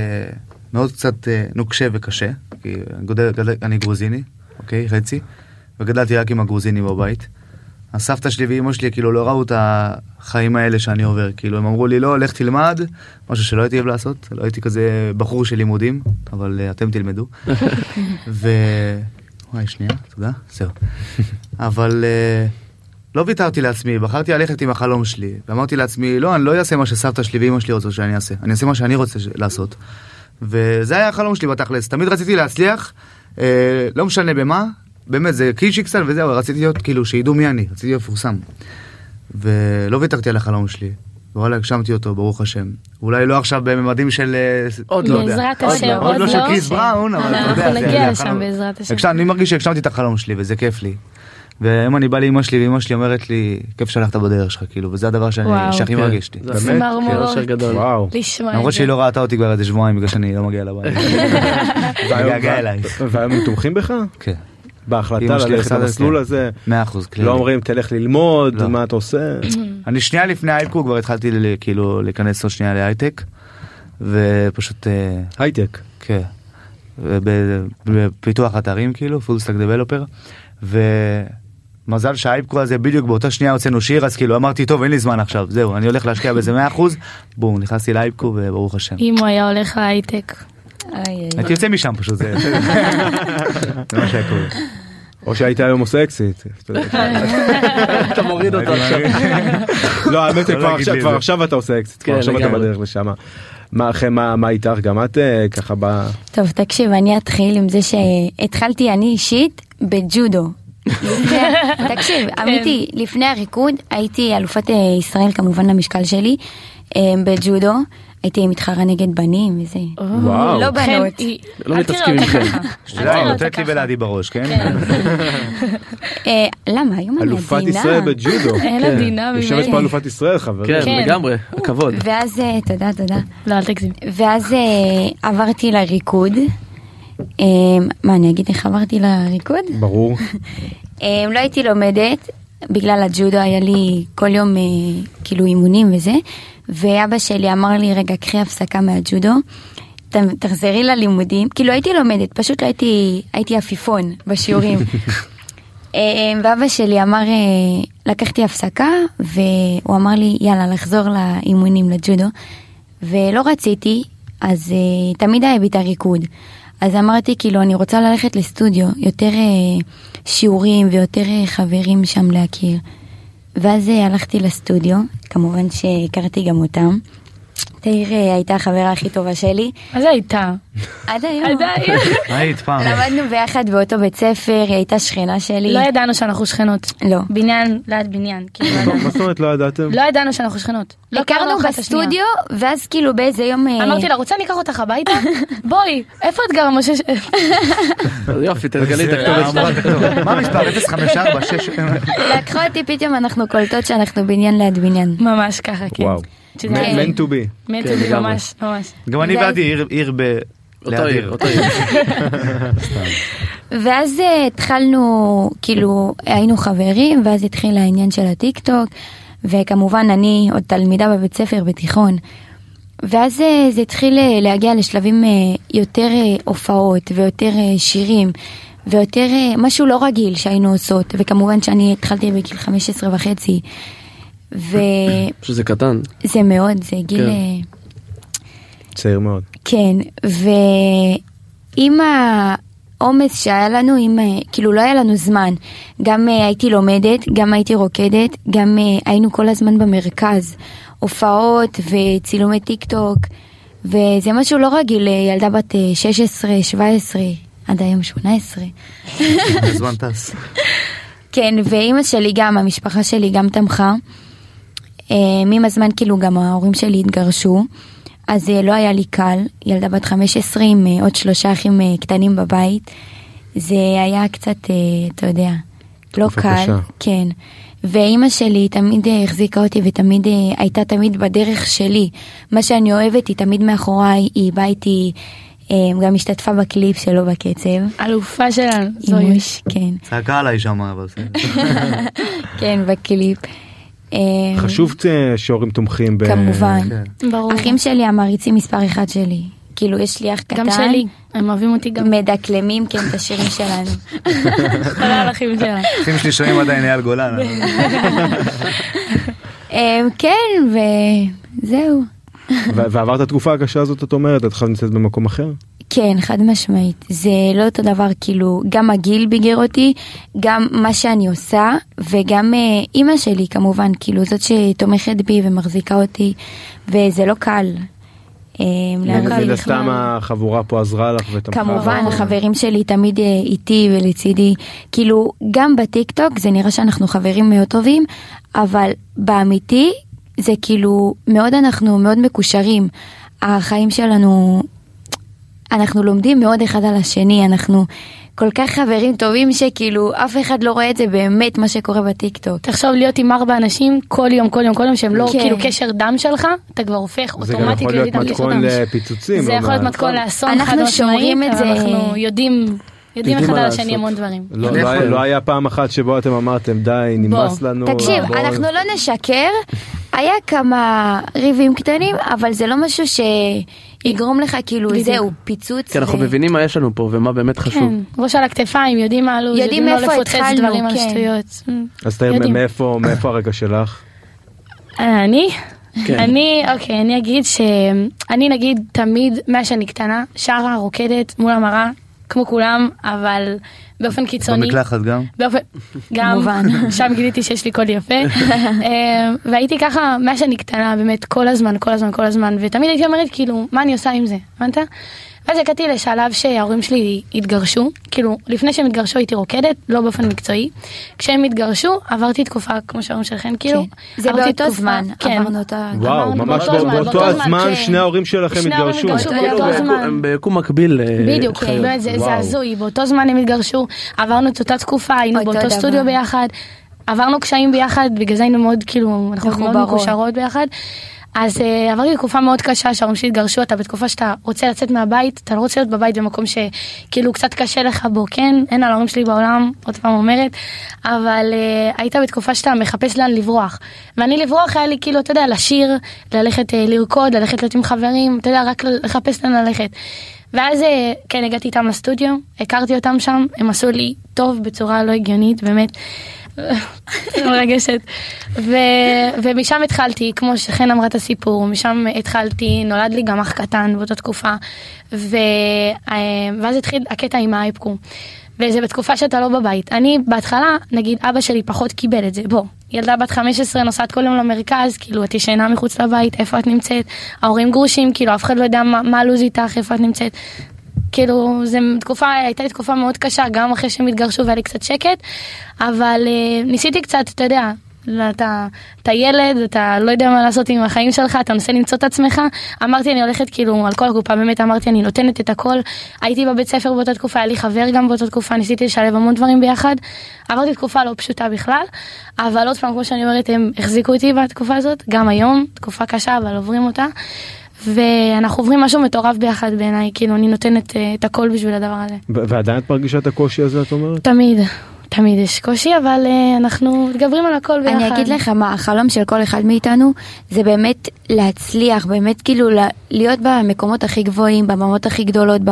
Speaker 5: מאוד קצת אה, נוקשה וקשה, כי אני גודל- גדל- אני גרוזיני, אוקיי, חצי, וגדלתי רק עם הגרוזינים בבית. אז סבתא שלי ואימא שלי כאילו לא ראו את החיים האלה שאני עובר, כאילו הם אמרו לי לא, לך תלמד, משהו שלא הייתי אוהב לעשות, לא הייתי כזה בחור של לימודים, אבל אה, אתם תלמדו. ו... וואי, שנייה, תודה, זהו. אבל אה, לא ויתרתי לעצמי, בחרתי ללכת עם החלום שלי, ואמרתי לעצמי, לא, אני לא אעשה מה שסבתא שלי ואימא שלי רוצות שאני אעשה, אני אעשה מה שאני רוצה ש- לעשות. וזה היה החלום שלי בתכלס, תמיד רציתי להצליח, אה, לא משנה במה, באמת, זה קיצ'יקסל וזהו, רציתי להיות, כאילו, שידעו מי אני, רציתי להיות מפורסם. ולא ויתרתי על החלום שלי, וואלה, הגשמתי אותו, ברוך השם. אולי לא עכשיו בממדים של... אה,
Speaker 3: עוד
Speaker 5: לא יודע.
Speaker 1: בעזרת
Speaker 5: עוד
Speaker 1: השם,
Speaker 5: לא, עוד
Speaker 1: עוד
Speaker 5: לא של
Speaker 1: לא.
Speaker 5: קריס בראון, אבל אתה יודע,
Speaker 1: אנחנו
Speaker 5: זה-
Speaker 1: נגיע
Speaker 5: זה
Speaker 1: לשם,
Speaker 5: החלום.
Speaker 1: בעזרת השם.
Speaker 5: הגשמתי, אני מרגיש שהגשמתי את החלום שלי וזה כיף לי. והיום אני בא לאמא שלי ואמא שלי אומרת לי, כיף שהלכת בדרך שלך, כאילו, וזה הדבר שאני,
Speaker 1: וואו.
Speaker 5: שהכי
Speaker 3: כן.
Speaker 5: מרגיש לי.
Speaker 3: זה
Speaker 2: באמת?
Speaker 3: באמת,
Speaker 1: צמרמורות.
Speaker 3: זה אושר גדול.
Speaker 2: וואו.
Speaker 1: לשמוע את
Speaker 5: למרות
Speaker 1: זה.
Speaker 5: שהיא לא ראתה אותי כבר איזה שבועיים בגלל שאני לא מגיע לבית. מתגעגע אלייך.
Speaker 2: והיום הם תומכים בך?
Speaker 5: כן,
Speaker 2: בהחלטה
Speaker 5: אמא שלי
Speaker 2: ללכת
Speaker 5: עושה את זה,
Speaker 2: למסלול
Speaker 5: כן.
Speaker 2: הזה.
Speaker 5: מאה אחוז.
Speaker 2: לא אומרים תלך ללמוד
Speaker 5: לא.
Speaker 2: מה אתה עושה.
Speaker 5: אני שנייה לפני האייפקו כבר התחלתי ל- כאילו להיכנס עוד שנייה להייטק, ופשוט, אה,
Speaker 2: הייטק.
Speaker 5: כן, וב- בפיתוח אתרים כאילו, full stack developer, ומזל שהאייפקו הזה בדיוק באותה שנייה הוצאנו שיר, אז כאילו אמרתי, טוב, אין לי זמן עכשיו, זהו, אני הולך להשקיע בזה 100%, בום, נכנסתי לאייפקו וברוך השם.
Speaker 1: אם הוא היה הולך להייטק.
Speaker 4: איי, איי,
Speaker 5: הייתי יוצא משם פשוט, זה...
Speaker 2: זה מה שהיה קורה. או שהיית היום עושה אקזיט. אתה יודע.
Speaker 3: אתה מוריד אותו עכשיו.
Speaker 2: לא האמת היא
Speaker 5: לא
Speaker 2: כבר
Speaker 5: להגיד
Speaker 2: עכשיו-
Speaker 5: לי את
Speaker 2: כבר
Speaker 5: זה.
Speaker 2: עכשיו אתה עושה אקזיט. כבר
Speaker 3: כן,
Speaker 2: עכשיו אתה
Speaker 3: לגמרי.
Speaker 2: בדרך לשם. מה אחרי מה מה איתך גם את אה, ככה ב...
Speaker 4: טוב, תקשיב, אני אתחיל עם זה שהתחלתי אני אישית בג'ודו. לפני- תקשיב,
Speaker 1: כן.
Speaker 4: אמיתי, לפני הריקוד הייתי אלופת אה, ישראל כמובן למשקל שלי אה, בג'ודו, הייתי מתחרה נגד בנים וזה.
Speaker 2: וואו.
Speaker 4: לא
Speaker 1: חן,
Speaker 4: בנות.
Speaker 1: היא-
Speaker 3: לא
Speaker 1: אל
Speaker 3: מתעסקים
Speaker 1: תראה אותה
Speaker 3: עם
Speaker 1: ככה. אל תראה
Speaker 5: לא,
Speaker 1: אותה
Speaker 5: נותנת לי
Speaker 1: ככה.
Speaker 5: ולעדי בראש, כן?
Speaker 1: כן. אוקיי.
Speaker 4: אה, למה? היום אני
Speaker 2: אלופת
Speaker 4: עדינה.
Speaker 2: ישראל בג'ודו. כן.
Speaker 1: אין לה דינאמי.
Speaker 2: יושבת פה אלופת ישראל חברים.
Speaker 3: כן,
Speaker 1: כן.
Speaker 3: לגמרי, הכבוד.
Speaker 4: ואז, אה, תודה, תודה.
Speaker 1: לא, אל תגזים.
Speaker 4: ואז אה, עברתי לריקוד. אה, מה, אני אגיד איך עברתי לריקוד?
Speaker 2: ברור.
Speaker 4: אה, לא הייתי לומדת, בגלל הג'ודו היה לי כל יום אה, כאילו אימונים וזה, ואבא שלי אמר לי, רגע, קחי הפסקה מהג'ודו, ת- תחזרי ללימודים, כאילו הייתי לומדת, פשוט לא הייתי, הייתי עפיפון בשיעורים. אה, ואבא שלי אמר, אה, לקחתי הפסקה, והוא אמר לי, יאללה, לחזור לאימונים לג'ודו, ולא רציתי, אז אה, תמיד היה בי את הריקוד. אז אמרתי, כאילו, אני רוצה ללכת לסטודיו, יותר אה, שיעורים ויותר אה, חברים שם להכיר. ואז אה, הלכתי לסטודיו, כמובן שהכרתי גם אותם. תאיר אה, הייתה החברה הכי טובה שלי,
Speaker 1: מה זה הייתה?
Speaker 4: עד היום.
Speaker 1: עדיין.
Speaker 5: היית פעם.
Speaker 4: למדנו ביחד באותו בית ספר, היא הייתה שכנה שלי.
Speaker 1: לא ידענו שאנחנו שכנות.
Speaker 4: לא.
Speaker 1: בניין ליד בניין. כאילו, לא ידענו.
Speaker 2: מה זאת אומרת לא ידעתם?
Speaker 1: לא ידענו שאנחנו שכנות. לא
Speaker 4: הכרנו
Speaker 1: הכרנו אחת את השנייה.
Speaker 4: בסטודיו, ואז כאילו באיזה יום... אה,
Speaker 1: אמרתי לה, רוצה אני אקח אותך הביתה? בואי, איפה את גרה משה? ש-
Speaker 3: יופי, תגלי את הכתובת.
Speaker 5: אמרה, "טוב, מה המספר? 0546?
Speaker 4: לקחו אותי פתאום, אנחנו קולטות שאנחנו בניין ליד בניין.
Speaker 1: ממש ככה, כן.
Speaker 2: וואו.
Speaker 1: שזה היה-
Speaker 2: Man to be.
Speaker 1: מנטו
Speaker 3: כן,
Speaker 1: בי,
Speaker 3: לגמרי.
Speaker 1: ממש, ממש.
Speaker 5: גם אני
Speaker 4: זה-
Speaker 5: ועדי עיר- עיר ב...
Speaker 3: אותו
Speaker 5: ליד
Speaker 3: עיר,
Speaker 5: עיר.
Speaker 3: אותו עיר.
Speaker 4: ואז אה, התחלנו, כאילו, היינו חברים, ואז התחיל העניין של הטיק טוק, וכמובן אני עוד תלמידה בבית ספר בתיכון. ואז אה, זה התחיל אה, להגיע לשלבים אה, יותר אה, הופעות ויותר אה, שירים ויותר אה, משהו לא רגיל שהיינו עושות, וכמובן שאני התחלתי בגיל 15 וחצי, וזה
Speaker 3: שזה קטן.
Speaker 4: מאוד, זה גיל...
Speaker 3: כן.
Speaker 4: אה,
Speaker 2: צעיר מאוד.
Speaker 4: כן, ועם העומס שהיה לנו, עם, אה, כאילו לא היה לנו זמן. גם אה, הייתי לומדת, גם הייתי רוקדת, גם אה, היינו כל הזמן במרכז. הופעות וצילומי טיק טוק, וזה משהו לא רגיל לילדה בת אה, 16, 17, עד היום 18.
Speaker 5: הזמן טס.
Speaker 4: כן, ואימא שלי גם, המשפחה שלי גם תמכה. אה, עם הזמן כאילו גם ההורים שלי התגרשו, אז אה, לא היה לי קל, ילדה בת 15 עם אה, עוד שלושה אחים אה, קטנים בבית, זה היה קצת, אה, אתה יודע, לא
Speaker 2: תקופה
Speaker 4: קל,
Speaker 2: קשה.
Speaker 4: כן. ואימא שלי תמיד אה, החזיקה אותי ותמיד אה, הייתה תמיד בדרך שלי. מה שאני אוהבת היא תמיד מאחוריי, היא באה איתי, אה, גם השתתפה בקליפ שלו בקצב.
Speaker 1: אלופה שלנו, זו
Speaker 4: אימוש,
Speaker 1: יש.
Speaker 4: כן,
Speaker 5: צעקה עליי שם, אבל בסדר.
Speaker 4: כן, בקליפ. אה,
Speaker 2: חשוב אה, שהורים תומכים ב...
Speaker 4: כמובן.
Speaker 5: כן.
Speaker 1: ברור.
Speaker 4: אחים שלי המעריצים מספר אחד שלי. כאילו, יש לי אח קטן.
Speaker 1: גם שלי, הם אוהבים אותי גם.
Speaker 4: מדקלמים כן את השירים שלנו.
Speaker 1: כל האחים שלנו.
Speaker 5: אחים שלי שומעים עדיין אייל גולן. אבל-
Speaker 4: אה, כן, וזהו.
Speaker 2: ו- ועברת התקופה הקשה הזאת את אומרת את עכשיו נמצאת במקום אחר
Speaker 4: כן, חד משמעית. זה לא אותו דבר, כאילו, גם הגיל ביגר אותי, גם מה שאני עושה, וגם אה, אימא שלי כמובן, כאילו, זאת שתומכת בי ומחזיקה אותי, וזה לא קל. אה, להחזיק.
Speaker 2: מן הסתם החבורה פה עזרה לך ותמכה.
Speaker 4: כמובן
Speaker 2: בך.
Speaker 4: החברים שלי תמיד אה, איתי ולצידי כאילו גם בטיק טוק זה נראה שאנחנו חברים מאוד טובים אבל באמיתי זה כאילו מאוד אנחנו מאוד מקושרים החיים שלנו אנחנו לומדים מאוד אחד על השני אנחנו כל כך חברים טובים שכאילו אף אחד לא רואה את זה באמת מה שקורה בטיק טוק.
Speaker 1: תחשוב להיות עם ארבע אנשים כל יום, כל יום, כל יום, שהם לא
Speaker 4: כן.
Speaker 1: כאילו קשר דם שלך, אתה כבר הופך
Speaker 2: זה גם
Speaker 1: אוטומטית
Speaker 2: יכול להיות
Speaker 1: לאדם קשר
Speaker 2: מתכון
Speaker 1: דם.
Speaker 2: לפיצוצים.
Speaker 1: זה
Speaker 2: לא
Speaker 1: יכול להיות
Speaker 2: מעט.
Speaker 1: מתכון לאסון
Speaker 4: אנחנו
Speaker 1: חד משמעית,
Speaker 4: שומרים את
Speaker 1: אבל
Speaker 4: זה-
Speaker 1: אנחנו יודעים, יודעים אחד
Speaker 3: מה
Speaker 1: על
Speaker 3: לעשות.
Speaker 1: השני המון דברים.
Speaker 2: לא-
Speaker 3: נכון.
Speaker 2: לא היה- לא היה פעם אחת שבו אתם אמרתם די נמאס
Speaker 1: בוא,
Speaker 2: לנו.
Speaker 4: תקשיב,
Speaker 2: בוא."
Speaker 4: אנחנו לא נשקר, היה כמה ריבים קטנים, אבל זה לא משהו שיגרום לך כאילו
Speaker 1: בדיוק.
Speaker 4: זהו, פיצוץ.
Speaker 3: כי כן, אנחנו
Speaker 4: ו-
Speaker 3: מבינים מה יש לנו פה ומה באמת חשוב.
Speaker 1: כן, ראש על הכתפיים, יודעים מה הלו"ז,
Speaker 4: יודעים
Speaker 1: יודעים לא
Speaker 4: מאיפה
Speaker 1: לפוצץ
Speaker 4: התחלנו,
Speaker 1: דברים על
Speaker 4: כן.
Speaker 1: שטויות.
Speaker 2: אז תאיר
Speaker 1: יודעים.
Speaker 2: מאיפה מאיפה הרגע שלך?
Speaker 1: אה, אני?
Speaker 3: כן.
Speaker 1: אני, אוקיי, אני אגיד שאני נגיד תמיד, מאז שאני קטנה, שרה, רוקדת, מול המראה, כמו כולם, אבל באופן קיצוני.
Speaker 5: במקלחת לא גם.
Speaker 1: באופן, גם,
Speaker 4: כמובן.
Speaker 1: שם גיליתי שיש לי קול יפה, אה, והייתי ככה מאז שאני קטנה באמת כל הזמן, כל הזמן, כל הזמן, ותמיד הייתי אומרת כאילו, מה אני עושה עם זה, הבנת? ואז הגעתי לשלב שההורים שלי התגרשו, כאילו, לפני שהם התגרשו הייתי רוקדת, לא באופן מקצועי, כשהם התגרשו עברתי תקופה, כמו שאומרים שלכם, כאילו,
Speaker 4: כן. זה
Speaker 1: עברתי
Speaker 4: באותו
Speaker 1: תקופה-
Speaker 4: זמן,
Speaker 1: כן,
Speaker 4: עברנו אותה...
Speaker 2: וואו
Speaker 1: אמרנו,
Speaker 2: ממש
Speaker 1: באותו
Speaker 2: בא-
Speaker 1: זמן,
Speaker 2: באותו
Speaker 1: באותו זמן,
Speaker 2: הזמן
Speaker 1: כן.
Speaker 2: שני ההורים שלכם
Speaker 1: שני ההורים
Speaker 2: התגרשו.
Speaker 1: התגרשו.
Speaker 4: באותו
Speaker 3: כאילו, הם
Speaker 4: זמן.
Speaker 3: בקו- הם ביקום מקביל. אה,
Speaker 1: בדיוק, כן,
Speaker 3: חיים.
Speaker 1: באמת, זה זה
Speaker 2: וואו.
Speaker 1: הזוי, באותו זמן הם התגרשו, עברנו את אותה תקופה, היינו
Speaker 4: אותו
Speaker 1: באותו
Speaker 4: דבר.
Speaker 1: סטודיו ביחד, עברנו קשיים ביחד, בגלל זה היינו מאוד, כאילו, אנחנו מאוד
Speaker 4: מחוברות.
Speaker 1: מקושרות ביחד. אז אה, עברתי תקופה מאוד קשה, שההורים שלי התגרשו, אתה בתקופה שאתה רוצה לצאת מהבית, אתה לא רוצה להיות בבית במקום שכאילו קצת קשה לך בו, כן, אין על ההורים שלי בעולם, עוד פעם אומרת, אבל אה, היית בתקופה שאתה מחפש לאן לברוח. ואני לברוח היה לי כאילו, אתה יודע, לשיר, ללכת אה, לרקוד, ללכת להיות עם חברים, אתה יודע, רק לחפש לאן ללכת. ואז אה, כן הגעתי איתם לסטודיו, הכרתי אותם שם, הם עשו לי טוב בצורה לא הגיונית, באמת. זה מרגשת. ו, ומשם התחלתי, כמו שחן אמרה את הסיפור, משם התחלתי, נולד לי גם אח קטן באותה תקופה, ו, אה, ואז התחיל הקטע עם האייפקו. וזה בתקופה שאתה לא בבית. אני בהתחלה, נגיד אבא שלי פחות קיבל את זה, בוא, ילדה בת 15 נוסעת כל יום למרכז, כאילו את ישנה מחוץ לבית, איפה את נמצאת, ההורים גרושים, כאילו אף אחד לא יודע מה מה הלו"ז איתך, איפה את נמצאת. כאילו, זה תקופה, הייתה לי תקופה מאוד קשה, גם אחרי שהם התגרשו והיה לי קצת שקט, אבל אה, ניסיתי קצת, אתה יודע, אתה, אתה ילד, אתה לא יודע מה לעשות עם החיים שלך, אתה מנסה למצוא את עצמך. אמרתי, אני הולכת כאילו על כל הקופה, באמת אמרתי, אני נותנת את הכל. הייתי בבית ספר באותה תקופה, היה לי חבר גם באותה תקופה, ניסיתי לשלב המון דברים ביחד. עברתי תקופה לא פשוטה בכלל, אבל עוד פעם, כמו שאני אומרת, הם החזיקו אותי בתקופה הזאת, גם היום, תקופה קשה, אבל עוברים אותה. ואנחנו עוברים משהו מטורף ביחד בעיניי, כאילו אני נותנת אה, את הכל בשביל הדבר הזה.
Speaker 2: ו- ועדיין את מרגישה את הקושי הזה את אומרת?
Speaker 1: תמיד, תמיד יש קושי, אבל אה, אנחנו מתגברים על הכל ביחד.
Speaker 4: אני אגיד לך מה, החלום של כל אחד מאיתנו זה באמת להצליח, באמת כאילו לה- להיות במקומות הכי גבוהים, בממות הכי גדולות ב-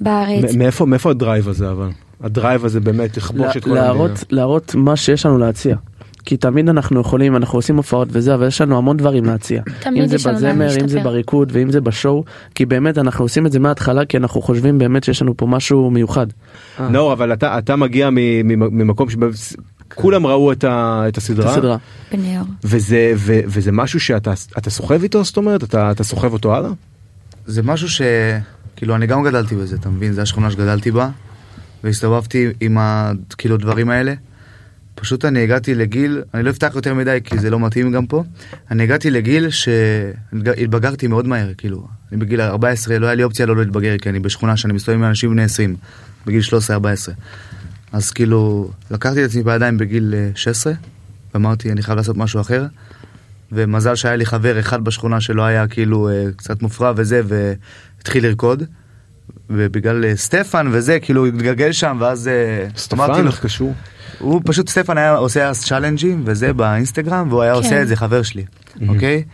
Speaker 4: בארץ.
Speaker 2: מ- מאיפה מאיפה הדרייב הזה אבל? הדרייב הזה באמת לכבוש את
Speaker 3: לה-
Speaker 2: כל המדינה.
Speaker 3: להראות, להראות מה שיש לנו להציע. כי תמיד אנחנו יכולים, אנחנו עושים הופעות וזה, אבל יש לנו המון דברים להציע.
Speaker 1: תמיד
Speaker 3: אם זה
Speaker 1: יש לנו לאן
Speaker 3: בזמר, אם זה
Speaker 1: להשתפר.
Speaker 3: בריקוד ואם זה בשואו, כי באמת אנחנו עושים את זה מההתחלה, כי אנחנו חושבים באמת שיש לנו פה משהו מיוחד.
Speaker 2: נאור אבל אתה אתה מגיע מ- מ- ממקום שכולם ראו את ה- את
Speaker 3: את
Speaker 2: הסדרה.
Speaker 3: הסדרה.
Speaker 4: בני אור.
Speaker 2: וזה ו- וזה משהו שאתה אתה סוחב איתו זאת אומרת אתה אתה סוחב אותו הלאה?
Speaker 5: זה משהו ש... כאילו, אני גם גדלתי בזה, אתה מבין? זו השכונה שגדלתי בה, והסתובבתי עם ה... כאילו, הדברים האלה. פשוט אני הגעתי לגיל, אני לא אפתח יותר מדי כי זה לא מתאים גם פה, אני הגעתי לגיל שהתבגרתי מאוד מהר, כאילו, אני בגיל 14 לא היה לי אופציה לא להתבגר, כי אני בשכונה שאני מסתובב עם אנשים בני 20, בגיל 13-14. אז כאילו, לקחתי את עצמי בידיים בגיל אה, 16, ואמרתי, אני חייב לעשות משהו אחר, ומזל שהיה לי חבר אחד בשכונה שלא היה כאילו אה, קצת מופרע וזה, והתחיל לרקוד. ובגלל אה, סטפן וזה, כאילו הוא התגלגל שם, ואז אה, אמרתי
Speaker 2: סטפן
Speaker 5: לו,
Speaker 2: איך קשור?
Speaker 5: הוא פשוט סטפן היה עושה אז צ'אלנג'ים וזה באינסטגרם והוא היה
Speaker 1: כן. Mhm.
Speaker 5: עושה את זה חבר שלי אוקיי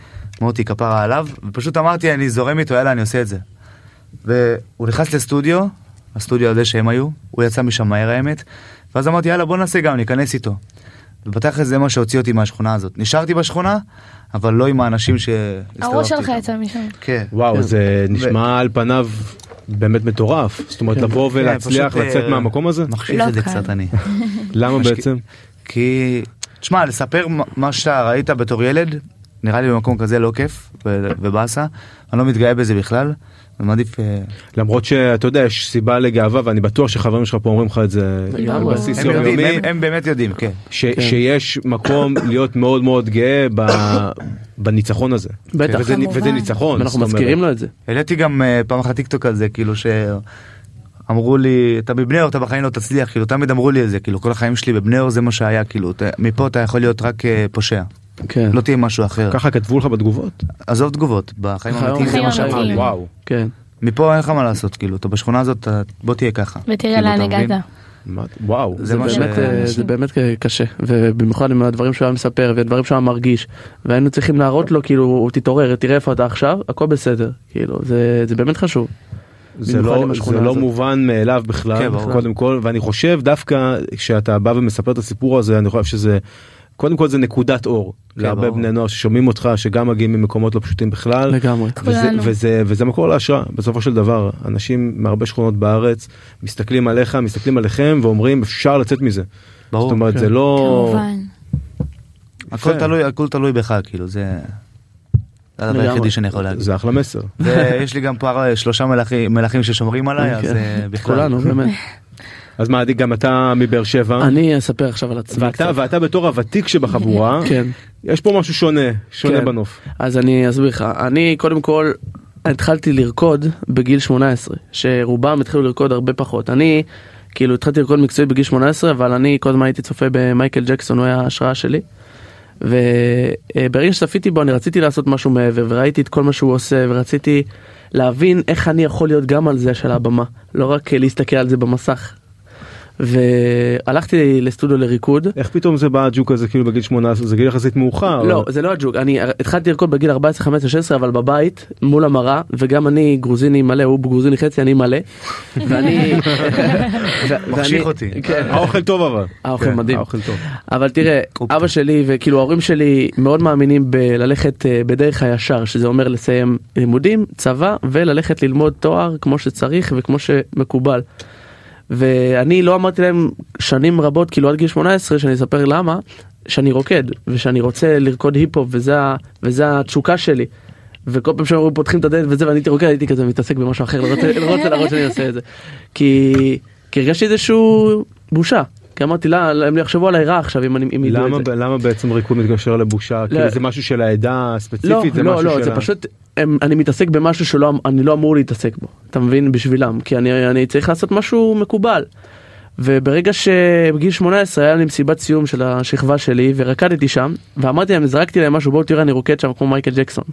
Speaker 5: מוטי כפרה עליו ופשוט אמרתי אני זורם איתו יאללה אני עושה את זה. והוא נכנס לסטודיו הסטודיו הזה שהם היו הוא יצא משם מהר האמת ואז אמרתי יאללה בוא נעשה גם ניכנס איתו. ובתכל'ס זה מה שהוציא אותי מהשכונה הזאת נשארתי בשכונה אבל לא עם האנשים שהסתובבתי
Speaker 1: הראש שלך
Speaker 5: איתם.
Speaker 1: יצא משם.
Speaker 5: כן.
Speaker 2: וואו
Speaker 3: כן.
Speaker 2: זה נשמע על פניו באמת מטורף זאת אומרת לבוא
Speaker 5: כן,
Speaker 2: ולהצליח
Speaker 5: פשוט, אה,
Speaker 2: לצאת מהמקום הזה
Speaker 5: מחשיב
Speaker 4: לא
Speaker 5: את זה
Speaker 4: קל.
Speaker 5: קצת אני.
Speaker 2: למה
Speaker 5: משקיע-
Speaker 2: בעצם?
Speaker 5: כי, תשמע, לספר מה- מה שאתה ראית בתור ילד, נראה לי במקום כזה לא כיף ו- ובאסה, אני לא מתגאה בזה בכלל, ומעדיף... אה,
Speaker 2: למרות שאתה יודע יש סיבה לגאווה ואני בטוח שחברים שלך פה אומרים לך את זה
Speaker 3: לגמרי.
Speaker 2: על בסיס
Speaker 5: הם יודעים,
Speaker 2: יומיומי
Speaker 5: הם- הם באמת יודעים, כן.
Speaker 2: ש- שיש מקום להיות מאוד מאוד גאה ב- בניצחון הזה.
Speaker 3: בטח.
Speaker 2: וזה-
Speaker 4: כמובן.
Speaker 2: וזה ניצחון.
Speaker 3: כן. אנחנו
Speaker 2: זאת אומרת.
Speaker 3: מזכירים לו את זה.
Speaker 5: העליתי גם אה, פעם אחת טיקטוק על זה, כאילו ש... אמרו לי, אתה בבני אור, אתה בחיים לא תצליח, כאילו תמיד אמרו לי את זה, כאילו כל החיים שלי בבני אור זה מה שהיה, כאילו אתה- מפה אתה יכול להיות רק אה, פושע,
Speaker 3: כן.
Speaker 5: לא תהיה משהו אחר.
Speaker 2: ככה כתבו לך בתגובות?
Speaker 5: עזוב תגובות, בחיים
Speaker 3: בחיים
Speaker 5: האמיתיים זה מה
Speaker 1: האמיתיים.
Speaker 5: שאמרו לי.
Speaker 1: כן.
Speaker 2: וואו.
Speaker 3: כן.
Speaker 5: מפה אין לך מה לעשות, כאילו אתה בשכונה הזאת, אתה- בוא תהיה ככה.
Speaker 1: ותראה
Speaker 5: כאילו,
Speaker 1: לאן
Speaker 5: אתה מבין?
Speaker 1: הגעת.
Speaker 2: מה- וואו.
Speaker 5: זה
Speaker 3: זה
Speaker 5: מה ש-
Speaker 3: באמת אה, זה באמת אה, קשה ובמיוחד עם הדברים שהוא היה מספר והדברים שהוא היה מרגיש והיינו צריכים להראות לו כאילו תתעורר תראה איפה אתה עכשיו הכל בסדר כאילו זה זה באמת חשוב.
Speaker 2: זה
Speaker 3: במיוחד
Speaker 2: לא,
Speaker 3: עם השכונה
Speaker 2: זה לא
Speaker 3: הזאת.
Speaker 2: מובן מאליו בכלל,
Speaker 5: כן, ברור.
Speaker 2: קודם כל, ואני חושב דווקא כשאתה בא ומספר את הסיפור הזה, אני חושב שזה, קודם כל זה נקודת אור,
Speaker 3: כן,
Speaker 2: להרבה
Speaker 5: ברור.
Speaker 2: בני נוער ששומעים אותך, שגם מגיעים ממקומות לא פשוטים בכלל,
Speaker 3: לגמרי.
Speaker 2: וזה,
Speaker 1: כולנו.
Speaker 2: וזה, וזה מקור להשראה, בסופו של דבר, אנשים מהרבה שכונות בארץ מסתכלים עליך, מסתכלים עליכם ואומרים אפשר לצאת מזה.
Speaker 5: ברור,
Speaker 2: זאת אומרת,
Speaker 3: כן.
Speaker 2: זה לא...
Speaker 4: כמובן.
Speaker 5: הכל
Speaker 2: יפה.
Speaker 5: תלוי, הכל תלוי בך, כאילו, זה... זה הדבר
Speaker 3: לגמרי.
Speaker 5: היחידי שאני יכול להגיד.
Speaker 2: זה אחלה מסר.
Speaker 5: ויש לי גם פה אה, שלושה מלכים- מלכים ששומרים עליי, אז
Speaker 3: כן.
Speaker 5: אה, בכלל.
Speaker 3: כולנו באמת.
Speaker 2: אז מה, עדי, גם אתה מבאר שבע,
Speaker 3: אני אספר עכשיו על עצמי.
Speaker 2: ואתה,
Speaker 3: קצת.
Speaker 2: ואתה בתור הוותיק שבחבורה,
Speaker 3: כן.
Speaker 2: יש פה משהו שונה, שונה
Speaker 3: כן.
Speaker 2: בנוף.
Speaker 3: אז אני אסביר לך אני קודם כל התחלתי לרקוד בגיל 18 שרובם התחילו לרקוד הרבה פחות אני כאילו התחלתי לרקוד מקצועי בגיל 18 אבל אני כל הזמן הייתי צופה במייקל ג'קסון הוא היה ההשראה שלי. וברגע שצפיתי בו אני רציתי לעשות משהו מעבר וראיתי את כל מה שהוא עושה ורציתי להבין איך אני יכול להיות גם על זה של הבמה לא רק אה, להסתכל על זה במסך. והלכתי לסטודיו לריקוד
Speaker 2: איך פתאום זה בא הג'וק הזה כאילו בגיל 18 זה גיל יחסית מאוחר.
Speaker 3: לא
Speaker 2: אבל-
Speaker 3: זה לא הג'וק אני התחלתי לרקוד בגיל 14 15 16 אבל בבית מול המראה וגם אני גרוזיני מלא הוא גרוזיני חצי אני מלא. ואני. ו-
Speaker 5: מחשיך
Speaker 3: ואני-
Speaker 5: אותי.
Speaker 3: כן.
Speaker 2: האוכל טוב אבל.
Speaker 3: האוכל
Speaker 2: כן,
Speaker 3: מדהים.
Speaker 2: האוכל טוב.
Speaker 3: אבל תראה
Speaker 5: אוקיי.
Speaker 3: אבא שלי וכאילו ההורים שלי מאוד מאמינים בללכת אה, בדרך הישר שזה אומר לסיים לימודים צבא וללכת ללמוד תואר כמו שצריך וכמו שמקובל. ואני לא אמרתי להם שנים רבות כאילו עד גיל 18 שאני אספר למה שאני רוקד ושאני רוצה לרקוד היפ-הופ וזה, ה- וזה התשוקה שלי. וכל פעם שהם היו פותחים את הדלת וזה ואני הייתי רוקד הייתי כזה מתעסק במשהו אחר לא רוצה- לא רוצה להראות שאני עושה את זה. כי, כי הרגשתי איזשהו בושה. כי אמרתי לה "לא, הם יחשבו עליי רע עכשיו אם אני אם ידעו את
Speaker 2: למה
Speaker 3: זה.
Speaker 2: ב- למה בעצם ריקוד מתקשר לבושה? כאילו זה משהו של העדה
Speaker 3: לא,
Speaker 2: הספציפית?
Speaker 3: לא,
Speaker 2: משהו
Speaker 3: לא,
Speaker 2: של
Speaker 3: זה
Speaker 2: ה-
Speaker 3: פשוט, הם, אני מתעסק במשהו שלא, אני לא אמור להתעסק בו, אתה מבין? בשבילם, כי אני, אני צריך לעשות משהו מקובל. וברגע שבגיל 18 היה לי מסיבת סיום של השכבה שלי ורקדתי שם ואמרתי להם זרקתי להם משהו בואו תראה אני רוקד שם כמו מייקל ג'קסון.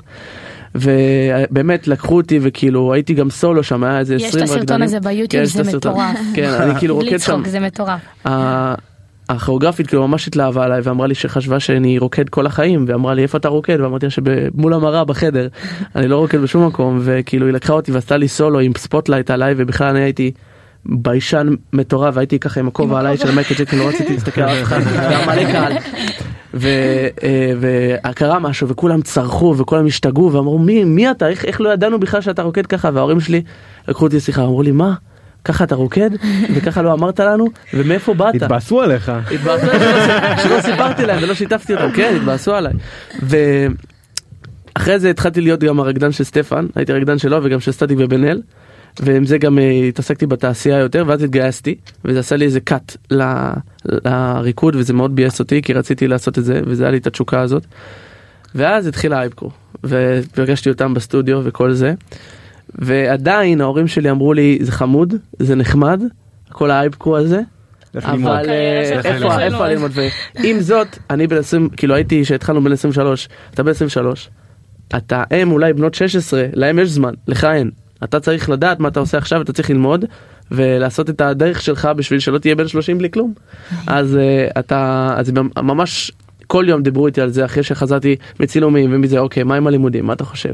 Speaker 3: ובאמת לקחו אותי וכאילו הייתי גם סולו שם היה איזה
Speaker 1: יש את
Speaker 3: 20 רקדנים.
Speaker 1: הסרטון הזה ביוטיוב,
Speaker 3: כן, יש
Speaker 1: זה
Speaker 3: את הסרטון.
Speaker 1: מטורף.
Speaker 3: כן, אני כאילו
Speaker 1: בלי
Speaker 3: רוקד שם.
Speaker 1: צחוק, זה מטורף.
Speaker 3: ה- הכוריאוגרפית כאילו ממש התלהבה עליי ואמרה לי שחשבה שאני רוקד כל החיים ואמרה לי איפה אתה רוקד ואמרתי לה שמול המראה בחדר אני לא רוקד בשום מקום וכאילו היא לקחה אותי ועשתה לי סולו עם ספוטלייט עליי ובכלל אני הייתי. ביישן מטורף הייתי ככה עם הכובע עליי של מייקל ג'קן לא רציתי להסתכל על אף אחד היה מלא קהל. ו- אה, וקרה משהו וכולם צרחו וכולם השתגעו ואמרו מי מי אתה איך, איך לא ידענו בכלל שאתה רוקד ככה וההורים שלי לקחו אותי לשיחה אמרו לי מה ככה אתה רוקד וככה לא אמרת לנו ומאיפה באת.
Speaker 2: התבאסו עליך.
Speaker 3: התבאסו לא עליי שלא- שלא סיפרתי להם ולא שיתפתי אותם, כן, התבאסו עליי. ואחרי זה התחלתי להיות גם הרקדן של סטפן, הייתי רקדן שלו וגם של סטטיק ובן אל, ועם זה גם אה, התעסקתי בתעשייה יותר, ואז התגייסתי, וזה עשה לי איזה cut ל- לריקוד, וזה מאוד ביאס אותי, כי רציתי לעשות את זה, וזה היה לי את התשוקה הזאת. ואז התחילה אייפקו, ופגשתי אותם בסטודיו וכל זה. ועדיין ההורים שלי אמרו לי זה חמוד זה נחמד כל האייפקו הזה
Speaker 2: לך ללמוד.
Speaker 3: אבל
Speaker 1: אוקיי,
Speaker 3: אה,
Speaker 1: איך
Speaker 3: איפה
Speaker 1: ללמוד?
Speaker 3: איפה ללמוד ועם זאת אני בן 20 כאילו הייתי שהתחלנו בן 23 אתה בן 23 אתה הם אולי בנות 16 להם יש זמן לך אין אתה צריך לדעת מה אתה עושה עכשיו אתה צריך ללמוד ולעשות את הדרך שלך בשביל שלא תהיה בן 30 בלי כלום אז אה, אתה אז במ- ממש כל יום דיברו איתי על זה אחרי שחזרתי מצילומים ומזה אוקיי מה עם הלימודים מה אתה חושב.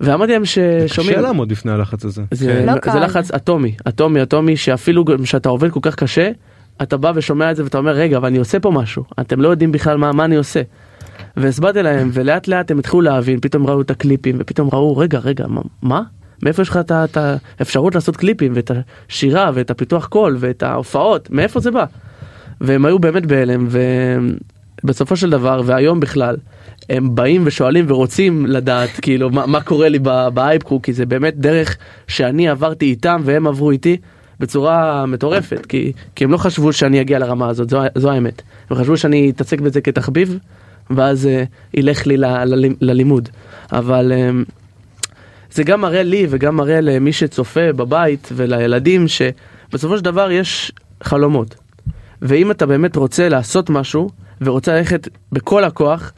Speaker 3: ואמרתי להם ששומעים
Speaker 2: קשה לעמוד בפני הלחץ הזה.
Speaker 3: זה,
Speaker 4: לא
Speaker 3: זה
Speaker 4: קל.
Speaker 3: לחץ אטומי, אטומי, אטומי, שאפילו גם כשאתה עובד כל כך קשה, אתה בא ושומע את זה ואתה אומר, רגע, אבל אני עושה פה משהו, אתם לא יודעים בכלל מה, מה אני עושה. והסברתי להם, ולאט לאט הם התחילו להבין, פתאום ראו את הקליפים, ופתאום ראו, רגע, רגע, מה? מה? מאיפה יש לך את ה- את האפשרות לעשות קליפים, ואת השירה, ואת הפיתוח קול, ואת ההופעות, מאיפה זה בא? והם היו באמת בהלם, ובסופו של דבר, והיום בכלל, הם באים ושואלים ורוצים לדעת, כאילו, מה, מה קורה לי ב- באייפקרו, כי זה באמת דרך שאני עברתי איתם והם עברו איתי בצורה מטורפת, כי, כי הם לא חשבו שאני אגיע לרמה הזאת, זו, ה- זו האמת. הם חשבו שאני אתעסק בזה כתחביב, ואז אה, ילך לי ל, ל, ללימוד. אבל... אה, זה גם מראה לי וגם מראה למי שצופה בבית ולילדים שבסופו של דבר יש חלומות. ואם אתה באמת רוצה לעשות משהו ורוצה ללכת בכל הכוח,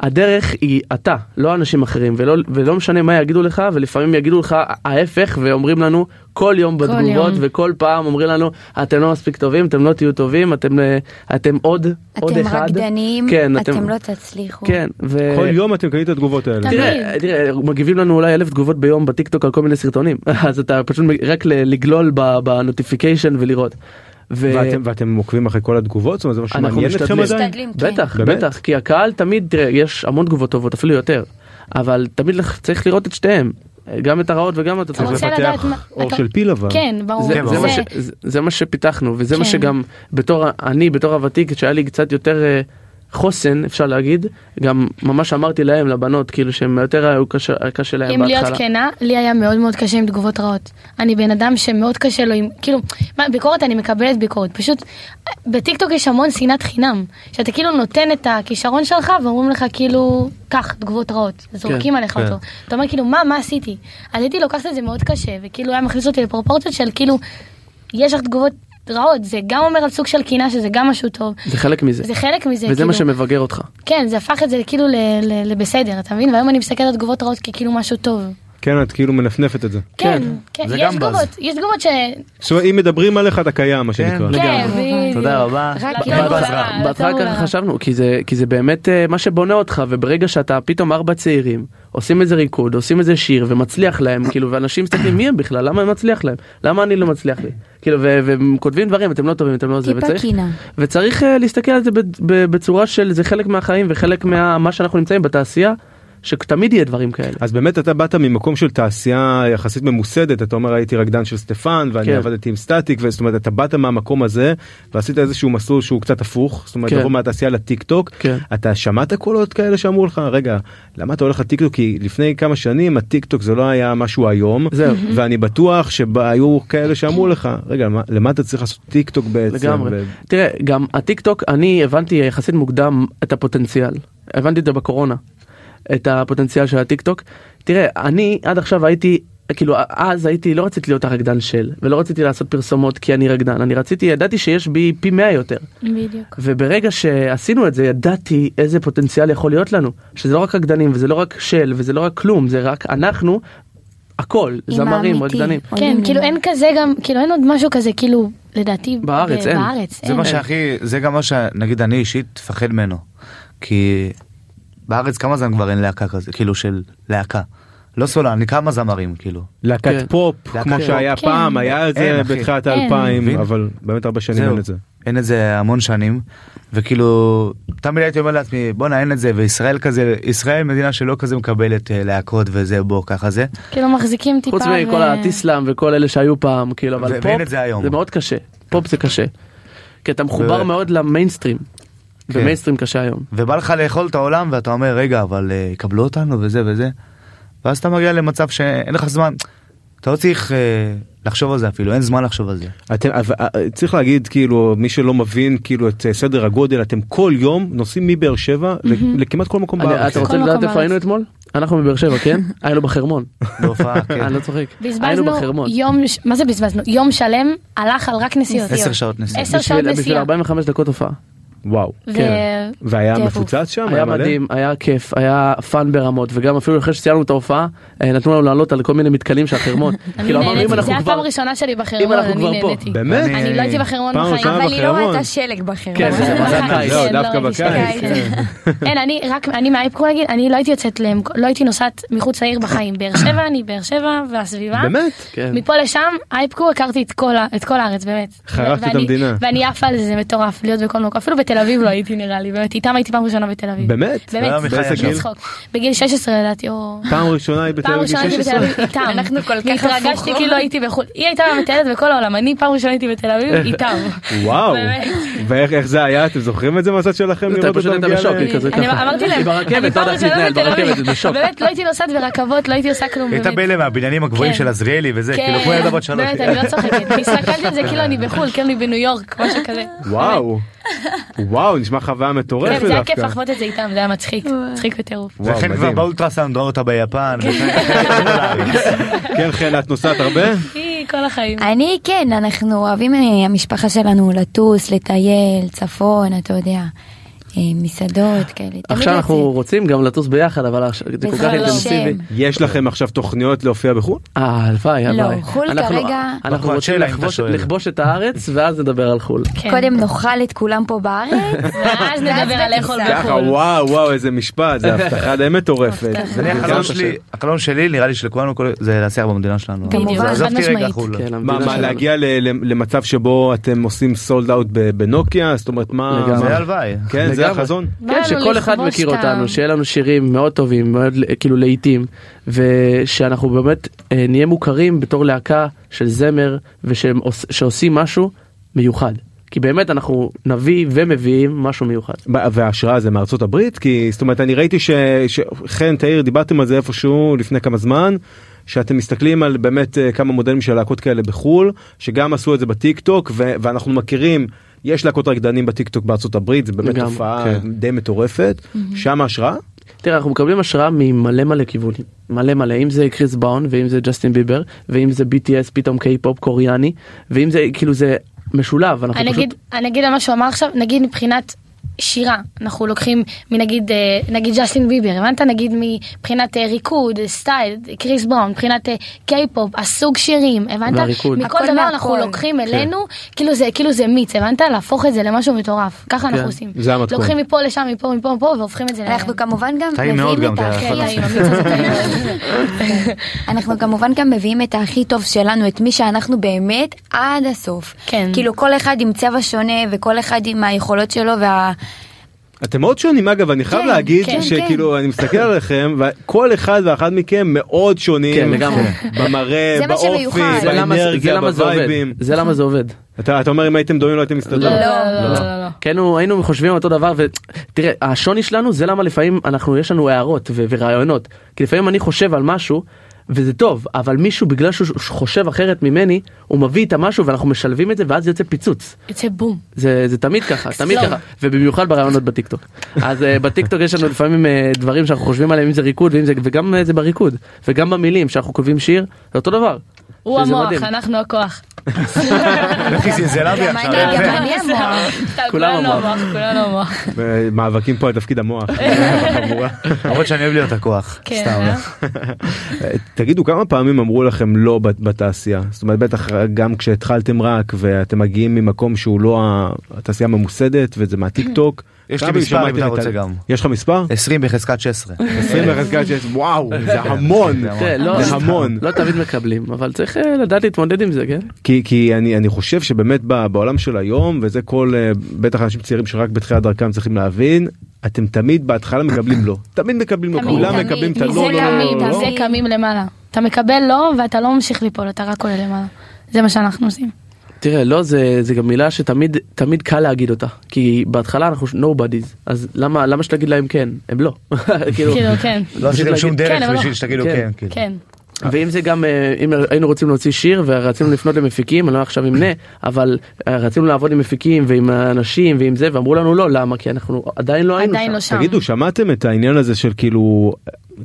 Speaker 3: הדרך היא אתה, לא אנשים אחרים, ולא, ולא משנה מה יגידו לך, ולפעמים יגידו לך ההפך, ואומרים לנו כל יום
Speaker 1: כל
Speaker 3: בתגובות,
Speaker 1: יום.
Speaker 3: וכל פעם אומרים לנו, אתם לא מספיק טובים, אתם לא תהיו טובים, אתם, אה, אתם עוד, עוד
Speaker 4: אתם
Speaker 3: אחד.
Speaker 4: רקדנים,
Speaker 3: כן,
Speaker 4: אתם לא תצליחו.
Speaker 3: כן, ו...
Speaker 2: כל יום אתם קניתם את התגובות האלה.
Speaker 1: תמיד.
Speaker 3: תראה, תראה, מגיבים לנו אולי אלף תגובות ביום בטיקטוק על כל מיני סרטונים, אז אתה פשוט מג- רק ל- לגלול ב- בנוטיפיקיישן ולראות. ו-
Speaker 2: ואתם- ואתם עוקבים אחרי כל התגובות? זאת אומרת זה משהו
Speaker 3: אנחנו
Speaker 2: מעניין אתכם
Speaker 3: משתדלים.
Speaker 2: עדיין?
Speaker 4: משתדלים, כן.
Speaker 3: בטח,
Speaker 2: באמת?
Speaker 3: בטח, כי הקהל תמיד, תראה, יש המון תגובות טובות, אפילו יותר, אבל תמיד לך- צריך לראות את שתיהם, גם את הרעות וגם את
Speaker 1: אתה
Speaker 3: הטובות.
Speaker 2: צריך
Speaker 1: רוצה לדעת
Speaker 2: לפתח
Speaker 1: מה-
Speaker 2: אור
Speaker 1: אתה-
Speaker 2: של פיל אבל.
Speaker 1: כן, ברור.
Speaker 3: זה, זה,
Speaker 5: ברור.
Speaker 3: מה
Speaker 1: זה-
Speaker 3: ש, זה, זה מה שפיתחנו וזה מה
Speaker 1: כן.
Speaker 3: שגם בתור ה- אני בתור הוותיק שהיה לי קצת יותר אה, חוסן אפשר להגיד גם ממש אמרתי להם לבנות כאילו שהם יותר היו קשה, קשה להם
Speaker 1: אם
Speaker 3: כן, בהתחלה.
Speaker 1: להיות כן. כנה, לי היה מאוד מאוד קשה עם תגובות רעות. אני בן אדם שמאוד קשה לו עם, כאילו, מה, ביקורת אני מקבלת ביקורת, פשוט בטיקטוק יש המון שנאת חינם, שאתה כאילו נותן את הכישרון שלך ואומרים לך כאילו, קח תגובות רעות, זורקים
Speaker 3: כן,
Speaker 1: עליך
Speaker 2: כן.
Speaker 1: אותו. אתה אומר כאילו, מה, מה עשיתי? אז הייתי לוקחת את זה מאוד קשה, וכאילו היה מכניס אותי לפרופורציות של כאילו, יש לך תגובות רעות, זה גם אומר על סוג של קנאה שזה גם משהו טוב.
Speaker 3: זה חלק מזה.
Speaker 1: זה חלק מזה,
Speaker 3: וזה מה
Speaker 1: כאילו.
Speaker 3: שמבגר אותך.
Speaker 1: כן, זה הפך את זה כאילו ל- ל- לבסדר, אתה מבין? והיום אני מסתכלת על תגובות רעות ככאילו משהו טוב.
Speaker 2: כן את כאילו מנפנפת את זה.
Speaker 1: כן,
Speaker 3: כן,
Speaker 1: כן,
Speaker 5: זה
Speaker 1: יש
Speaker 5: גם
Speaker 1: תגובות,
Speaker 5: באז.
Speaker 1: יש תגובות ש...
Speaker 2: זאת אומרת אם מדברים עליך אתה קיים מה שנקרא.
Speaker 5: לגמרי.
Speaker 1: כן,
Speaker 3: נכון,
Speaker 1: בדיוק.
Speaker 5: תודה רבה.
Speaker 4: רק
Speaker 1: לטוב
Speaker 4: כאילו-
Speaker 1: ולרע, לטוב
Speaker 3: בהתחלה
Speaker 1: ולרע.
Speaker 3: ככה חשבנו כי זה כי זה באמת אה, מה שבונה אותך וברגע שאתה פתאום ארבע צעירים עושים איזה ריקוד עושים איזה שיר ומצליח להם כאילו ואנשים מסתכלים מי הם בכלל למה הם מצליח להם למה אני לא מצליח לי כאילו ו- והם כותבים דברים אתם לא טובים אתם לא זה
Speaker 4: טיפה
Speaker 3: וצריך
Speaker 4: קינה.
Speaker 3: וצריך אה, להסתכל על זה ב- ב- בצורה של זה חלק מהחיים וחלק מה מה שאנחנו נמצאים בתעשייה שתמיד יהיה דברים כאלה.
Speaker 2: אז באמת אתה באת ממקום של תעשייה יחסית ממוסדת אתה אומר הייתי רקדן של סטפן ואני
Speaker 3: כן.
Speaker 2: עבדתי עם סטטיק וזאת אומרת אתה באת מהמקום הזה ועשית איזשהו מסלול שהוא קצת הפוך זאת אומרת
Speaker 3: כן.
Speaker 2: לבוא מהתעשייה לטיק טוק
Speaker 3: כן.
Speaker 2: אתה שמעת קולות כאלה שאמרו לך רגע למה אתה הולך לטיק טוק כי לפני כמה שנים הטיק טוק זה לא היה משהו היום
Speaker 3: זהו.
Speaker 2: ואני בטוח שהיו כאלה שאמרו לך רגע מה- למה אתה צריך לעשות טיק טוק בעצם
Speaker 3: לגמרי.
Speaker 2: ו-
Speaker 3: תראה, גם הטיק טוק, אני הבנתי יחסית מוקדם את הפוטנציאל. הבנתי את זה בקורונה, את הפוטנציאל של הטיק טוק. תראה, אני עד עכשיו הייתי כאילו אז הייתי לא רציתי להיות הרקדן של ולא רציתי לעשות פרסומות כי אני רקדן אני רציתי ידעתי שיש בי פי 100 יותר
Speaker 1: בדיוק.
Speaker 3: וברגע שעשינו את זה ידעתי איזה פוטנציאל יכול להיות לנו שזה לא רק רקדנים וזה לא רק של וזה לא רק כלום זה רק אנחנו הכל
Speaker 4: עם
Speaker 3: זמרים
Speaker 4: האמיתי.
Speaker 3: רקדנים.
Speaker 4: עולים
Speaker 1: כן, כאילו
Speaker 4: לנו.
Speaker 1: אין כזה גם, כאילו אין עוד משהו כזה, כאילו, לדעתי,
Speaker 3: בארץ,
Speaker 1: ב-
Speaker 3: אין.
Speaker 1: בארץ,
Speaker 5: זה
Speaker 1: אין.
Speaker 5: מה שהכי, זה גם מה שנגיד אני אישית מפחד ממנו. כי בארץ כמה זמן כבר אין להקה כזה, כאילו של להקה. לא סולן, אני כמה זמרים, כאילו.
Speaker 2: להקת
Speaker 3: כן.
Speaker 2: פופ
Speaker 5: להקת
Speaker 2: כמו
Speaker 5: פופ.
Speaker 2: שהיה
Speaker 1: כן.
Speaker 2: פעם היה את זה
Speaker 5: אין, אחי.
Speaker 2: בתחילת
Speaker 1: אין.
Speaker 2: האלפיים
Speaker 5: מבין?
Speaker 2: אבל באמת הרבה שנים
Speaker 5: זהו.
Speaker 2: אין את זה.
Speaker 5: אין את זה המון שנים, וכאילו, תמיד הייתי אומר לעצמי, בואנה אין את זה, וישראל כזה, ישראל מדינה שלא כזה מקבלת אה, להקות וזה, בוא, ככה זה.
Speaker 1: כאילו מחזיקים טיפה.
Speaker 3: חוץ מכל
Speaker 1: ו-
Speaker 3: האטיסלאם וכל אלה שהיו פעם כאילו אבל
Speaker 5: ו-
Speaker 3: פופ
Speaker 5: ואין את זה היום.
Speaker 3: זה מאוד קשה פופ זה קשה. כי אתה מחובר
Speaker 5: ו-
Speaker 3: מאוד למיינסטרים.
Speaker 5: כן.
Speaker 3: ומיינסטרים קשה היום.
Speaker 5: ובא לך לאכול את העולם, ואתה אומר, רגע, אבל אה, יקבלו אותנו וזה וזה. ואז אתה מגיע למצב שאין לך זמן, אתה לא צריך אה, לחשוב על זה אפילו, אין זמן לחשוב על זה.
Speaker 2: אתם אבל, אה, צריך להגיד כאילו מי שלא מבין כאילו את אה, סדר הגודל אתם כל יום נוסעים מבאר שבע ל- לכמעט כל מקום
Speaker 3: אני-
Speaker 2: בארץ.
Speaker 3: אתה רוצה
Speaker 1: כל
Speaker 3: לדעת
Speaker 1: מקום
Speaker 3: איפה היינו
Speaker 1: בארץ.
Speaker 3: אתמול? אנחנו מבאר שבע כן? היינו בחרמון.
Speaker 5: בהופעה, כן.
Speaker 3: אני לא צוחק. היינו
Speaker 1: בזבזנו
Speaker 3: בחרמון.
Speaker 1: יום, ש- מה זה בזבזנו? יום שלם הלך על רק נסיעות.
Speaker 5: עשר שעות נסיעה.
Speaker 1: עשר שעות
Speaker 3: בשביל- בשביל
Speaker 1: נסיעה.
Speaker 3: 45 דקות הופעה.
Speaker 2: וואו.
Speaker 1: ו-
Speaker 2: כן. והיה
Speaker 1: טירוף.
Speaker 2: מפוצץ
Speaker 5: אה,
Speaker 2: שם?
Speaker 3: היה
Speaker 2: מלא?
Speaker 3: מדהים, היה כיף, היה פאן ברמות, וגם אפילו אחרי שסיימנו את ההופעה, אה, נתנו לנו לעלות על כל מיני מתקנים של החרמון.
Speaker 1: אני
Speaker 3: כאילו אמרנו
Speaker 1: נהניתי,
Speaker 3: אם
Speaker 1: זה
Speaker 3: אנחנו
Speaker 1: היה
Speaker 3: כבר...
Speaker 1: פעם ראשונה שלי
Speaker 3: אם
Speaker 1: בחרמון,
Speaker 3: אנחנו
Speaker 1: אני
Speaker 3: כבר פה.
Speaker 1: נהניתי.
Speaker 2: באמת?
Speaker 5: אני-
Speaker 1: אני לא הייתי בחרמון
Speaker 2: פעם
Speaker 1: בחיים.
Speaker 2: ראשונה
Speaker 4: אבל היא לא
Speaker 2: בחרמון.
Speaker 4: ראתה שלג בחרמון.
Speaker 3: כן, זה מזל
Speaker 1: כן,
Speaker 3: קיץ.
Speaker 2: לא,
Speaker 1: לא,
Speaker 2: דווקא
Speaker 1: ראיתי
Speaker 2: בקיץ. כן.
Speaker 1: שקיץ. אין, אני רק, אני מהאיפקו להגיד, אני לא הייתי יוצאת, למק- לא הייתי נוסעת מחוץ לעיר בחיים. באר שבע, אני באר שבע והסביבה.
Speaker 2: באמת?
Speaker 3: כן.
Speaker 1: מפה לשם, האיפקו הכרתי את כל ה- את כל הארץ, באמת.
Speaker 2: חרבת את
Speaker 1: ואני-
Speaker 2: המדינה.
Speaker 1: ואני עפה על זה, זה מטורף, להיות בכל מקום. אפילו בתל אביב לא הייתי נראה לי, באמת. איתם הייתי פעם ראשונה בתל אביב.
Speaker 2: באמת?
Speaker 1: באמת,
Speaker 5: באיזה
Speaker 1: זה
Speaker 5: גיל?
Speaker 1: צחוק. בגיל 16 לדעתי, או...
Speaker 2: פעם ראשונה היא בתל
Speaker 1: פעם
Speaker 2: אביב
Speaker 1: ראשונה הייתי בתל
Speaker 2: 16?
Speaker 1: אביב איתם.
Speaker 4: אנחנו כל כך
Speaker 1: התרגשתי
Speaker 4: הפוכות.
Speaker 1: כאילו הייתי בחו"ל. היא הייתה מטיילת בכל העולם, אני פעם ראשונה הייתי בתל אביב איתם.
Speaker 2: וואו.
Speaker 1: באמת.
Speaker 2: ואיך איך זה היה? אתם זוכרים את זה מהצד שלכם?
Speaker 3: אתה
Speaker 2: לראות
Speaker 3: פשוט
Speaker 2: אותה
Speaker 3: היית
Speaker 2: מגיעה
Speaker 3: בשוק,
Speaker 2: ל-
Speaker 3: היא כזה
Speaker 1: אני אמ-
Speaker 3: ככה.
Speaker 1: אמרתי
Speaker 3: היא
Speaker 1: להם, אני
Speaker 3: ברכבת לא
Speaker 1: פעם
Speaker 3: יודעת
Speaker 1: ראשונה
Speaker 3: להתנהל,
Speaker 1: בתל
Speaker 3: ברכבת
Speaker 1: אביב.
Speaker 3: זה בשוק.
Speaker 1: באמת, לא הייתי נוסעת ברכבות, לא הייתי עושה כלום.
Speaker 5: הייתה
Speaker 1: באמת.
Speaker 5: באלה מהבניינים הגבוהים
Speaker 1: כן.
Speaker 5: של עזריאלי וזה,
Speaker 1: כן.
Speaker 5: כאילו כמו ילדה בת שלוש.
Speaker 1: באמת, אני לא צוחקת. הסתכלתי על זה כאילו אני בחו"ל, כאילו אני בניו יורק, משהו כזה.
Speaker 2: וואו. וואו, נשמע חוויה מטורפת
Speaker 1: כן,
Speaker 2: דווקא.
Speaker 1: זה היה כיף לחוות את זה איתם, זה היה מצחיק, מצחיק בטירוף.
Speaker 2: וואו,
Speaker 5: וכן כבר
Speaker 2: מדהים.
Speaker 5: באולטרסאונד ראו אותה ביפן.
Speaker 2: כן, חן, את נוסעת הרבה?
Speaker 1: היא כל החיים.
Speaker 4: אני כן, אנחנו אוהבים, אה, המשפחה שלנו, לטוס, לטייל, צפון, אתה יודע, אה, מסעדות כאלה. תמיד
Speaker 3: עכשיו אנחנו
Speaker 4: לצאת.
Speaker 3: רוצים גם לטוס ביחד, אבל עכשיו זה
Speaker 1: לא
Speaker 3: כל כך
Speaker 4: בעזרת
Speaker 3: אינטנסיבי.
Speaker 4: השם.
Speaker 2: יש לכם עכשיו תוכניות להופיע בחו"ל?
Speaker 3: אה, הלוואי, הלוואי.
Speaker 4: לא, חו"ל
Speaker 3: אנחנו-
Speaker 4: כרגע-
Speaker 2: אוקיי,
Speaker 3: אנחנו
Speaker 5: בקואצ'לה,
Speaker 3: רוצים
Speaker 5: אם אתה
Speaker 3: לכבוש-
Speaker 5: שואל.
Speaker 3: לכבוש את הארץ, ואז נדבר על חו"ל.
Speaker 1: כן.
Speaker 4: קודם נאכל את כולם פה בארץ,
Speaker 1: ואז נדבר על איך הולכים.
Speaker 2: ככה, וואו, וואו, איזה משפט, זו הבטחה די מטורפת. זה
Speaker 5: אני
Speaker 2: גם-
Speaker 5: החלום שלי, החלום שלי נראה לי שלכולנו כל- זה להצליח במדינה שלנו.
Speaker 4: כמובן,
Speaker 5: אז עזוב
Speaker 1: חד
Speaker 5: אותי רגע
Speaker 1: משמעית.
Speaker 5: חו"ל.
Speaker 3: כן,
Speaker 2: לא. מה,
Speaker 3: המדינה
Speaker 2: מה,
Speaker 3: שלנו.
Speaker 2: להגיע ל- ל- למצב שבו אתם עושים סולד אאוט בנוקיה? זאת אומרת, מה...
Speaker 3: לגמרי.
Speaker 5: זה
Speaker 2: מה-
Speaker 5: הלוואי.
Speaker 2: כן, זה
Speaker 3: לגמרי.
Speaker 2: החזון?
Speaker 1: בא
Speaker 3: כן,
Speaker 1: לנו
Speaker 3: שכל אחד
Speaker 1: לכבוש
Speaker 3: מכיר
Speaker 1: את ה-
Speaker 3: אותנו, שיהיה לנו שירים מאוד טובים, מאוד ל- כאילו להיטים, ושאנחנו באמת אה, נהיה מוכרים בתור להקה של זמר, ושעושים משהו מיוחד. כי באמת אנחנו נביא ומביאים משהו מיוחד.
Speaker 2: ב- וההשראה זה מארצות הברית כי זאת אומרת אני ראיתי ש- שחן תאיר דיברתם על זה איפשהו לפני כמה זמן שאתם מסתכלים על באמת אה, כמה מודלים של להקות כאלה בחול שגם עשו את זה בטיק טוק ו- ואנחנו מכירים יש להקות רקדנים בטיק טוק בארצות הברית זה באמת
Speaker 3: לגמרי,
Speaker 2: תופעה
Speaker 3: כן.
Speaker 2: די מטורפת
Speaker 4: Mm-hmm.
Speaker 2: שם ההשראה
Speaker 3: תראה, אנחנו מקבלים השראה ממלא מלא כיוונים, מלא מלא, אם זה קריס באון, ואם זה ג'סטין ביבר, ואם זה BTS פתאום קיי-פופ קוריאני, ואם זה כאילו זה משולב, אנחנו
Speaker 1: אני
Speaker 3: פשוט...
Speaker 1: אגיד, אני אגיד על מה שהוא אמר עכשיו, נגיד מבחינת שירה, אנחנו לוקחים מנגיד, אה, נגיד ג'סטין ביבר, הבנת? נגיד מבחינת אה, ריקוד, אה, סטייל, קריס בראון, מבחינת אה, קיי-פופ, הסוג שירים, הבנת?
Speaker 3: והריקוד. כן.
Speaker 1: מכל
Speaker 4: הכל
Speaker 1: דבר
Speaker 4: מהכל.
Speaker 1: אנחנו לוקחים אלינו, כאילו זה, כאילו זה מיץ, הבנת? להפוך את זה למשהו מטורף, ככה
Speaker 3: כן,
Speaker 1: אנחנו עושים.
Speaker 2: זה המתכון.
Speaker 1: לוקחים מפה לשם, מפה, מפה, מפה, והופכים את זה ל...
Speaker 4: אנחנו כמובן גם
Speaker 5: טעים מאוד
Speaker 4: מביאים
Speaker 5: גם,
Speaker 4: את
Speaker 5: זה
Speaker 4: הכי
Speaker 5: אחד
Speaker 4: טעים.
Speaker 1: טעים, המיץ הזה טעים מאוד.
Speaker 4: אנחנו כמובן גם מביאים את הכי טוב שלנו, את מי שאנחנו באמת עד הסוף.
Speaker 1: כן.
Speaker 4: כאילו כל אחד עם צבע שונה וכל אחד עם היכולות שלו וה...
Speaker 2: אתם מאוד שונים אגב אני חייב
Speaker 4: כן,
Speaker 2: להגיד
Speaker 4: כן,
Speaker 2: שכאילו אני מסתכל עליכם וכל אחד ואחת מכם מאוד
Speaker 3: כן,
Speaker 2: שונים
Speaker 3: לגמרי.
Speaker 2: במראה
Speaker 4: זה מה
Speaker 2: באופי
Speaker 4: שמיוחד.
Speaker 3: זה למה- זה
Speaker 2: באנרגיה
Speaker 3: למה זה עובד,
Speaker 2: בווייבים
Speaker 3: זה למה זה עובד.
Speaker 2: אתה אתה אומר אם הייתם דומים לא הייתם מסתדרים.
Speaker 1: לא, לא, לא, לא.
Speaker 3: כי היינו, כן, היינו חושבים אותו דבר ותראה השוני שלנו זה למה לפעמים אנחנו יש לנו הערות ו- ורעיונות כי לפעמים אני חושב על משהו וזה טוב, אבל מישהו בגלל שהוא חושב אחרת ממני, הוא מביא איתה משהו ואנחנו משלבים את זה ואז יוצא פיצוץ.
Speaker 1: יוצא בום.
Speaker 3: זה, זה תמיד ככה, תמיד
Speaker 1: לא.
Speaker 3: ככה, ובמיוחד ברעיונות בטיקטוק. אז uh, בטיקטוק יש לנו לפעמים uh, דברים שאנחנו חושבים עליהם, אם זה ריקוד, ואם זה, וגם uh, זה בריקוד, וגם במילים, שאנחנו כותבים שיר, זה אותו דבר.
Speaker 1: הוא
Speaker 3: וזה
Speaker 1: המוח,
Speaker 3: מדהים.
Speaker 1: אנחנו הכוח.
Speaker 5: איך היא זלזלה בי
Speaker 4: גם
Speaker 5: עכשיו?
Speaker 4: אני-
Speaker 5: יפה.
Speaker 4: גם אני המוח.
Speaker 1: סתם,
Speaker 3: כולם
Speaker 1: כולנו
Speaker 3: המוח.
Speaker 1: המוח, כולנו המוח.
Speaker 2: אה, מאבקים פה על תפקיד המוח. בחבורה.
Speaker 5: למרות שאני אוהב להיות הכוח.
Speaker 1: כן,
Speaker 5: סתם. לא.
Speaker 1: אה?
Speaker 2: אה, תגידו כמה פעמים אמרו לכם לא בת- בתעשייה זאת אומרת בטח גם כשהתחלתם רק ואתם מגיעים ממקום שהוא לא ה- התעשייה הממוסדת וזה מהטיק טוק.
Speaker 5: יש
Speaker 2: כמה
Speaker 5: לי מספר
Speaker 2: פעמים
Speaker 5: אם אתה
Speaker 2: שמעתם את
Speaker 5: רוצה
Speaker 2: ה-
Speaker 5: גם.
Speaker 2: יש לך מספר?
Speaker 5: 20 בחזקת לא 16.
Speaker 2: 20 בחזקת שיש וואו זה המון
Speaker 5: זה המון.
Speaker 3: כן, לא,
Speaker 2: זה המון
Speaker 3: לא תמיד מקבלים, אבל צריך אה, לדעת להתמודד עם זה, כן?
Speaker 2: כי כי אני אני חושב שבאמת ב- בעולם של היום וזה כל אה, בטח אנשים צעירים שרק בתחילת דרכם צריכים להבין אתם תמיד בהתחלה מקבלים לא תמיד מקבלים לא
Speaker 4: תמיד,
Speaker 2: כולם
Speaker 4: תמיד.
Speaker 2: מקבלים את
Speaker 4: מזה
Speaker 2: הלא לא לא
Speaker 4: קמים,
Speaker 2: לא
Speaker 4: תמיד.
Speaker 2: לא.
Speaker 1: מזה קמים למעלה. אתה מקבל לא, ואתה לא ממשיך ליפול, אתה רק עולה למעלה. זה מה שאנחנו עושים.
Speaker 3: תראה, לא, זה, זה גם מילה שתמיד תמיד קל להגיד אותה, כי בהתחלה אנחנו nobodies, אז למה, למה שתגיד להם כן? הם לא. כאילו,
Speaker 1: כאילו, כן.
Speaker 5: לא עשיתם
Speaker 3: להגיד-
Speaker 5: שום
Speaker 1: כן,
Speaker 5: דרך
Speaker 1: אבל לא.
Speaker 5: בשביל שתגידו
Speaker 3: כן.
Speaker 5: כן. כאילו.
Speaker 1: כן.
Speaker 3: ואם זה גם אה, אם היינו רוצים להוציא שיר ורצינו לפנות למפיקים אני לא עכשיו אמנה אבל אה, רצינו לעבוד עם מפיקים ועם אנשים ועם זה ואמרו לנו לא למה כי אנחנו עדיין לא היינו
Speaker 1: עדיין
Speaker 3: שם.
Speaker 1: לא שם.
Speaker 2: תגידו שמעתם את העניין הזה של כאילו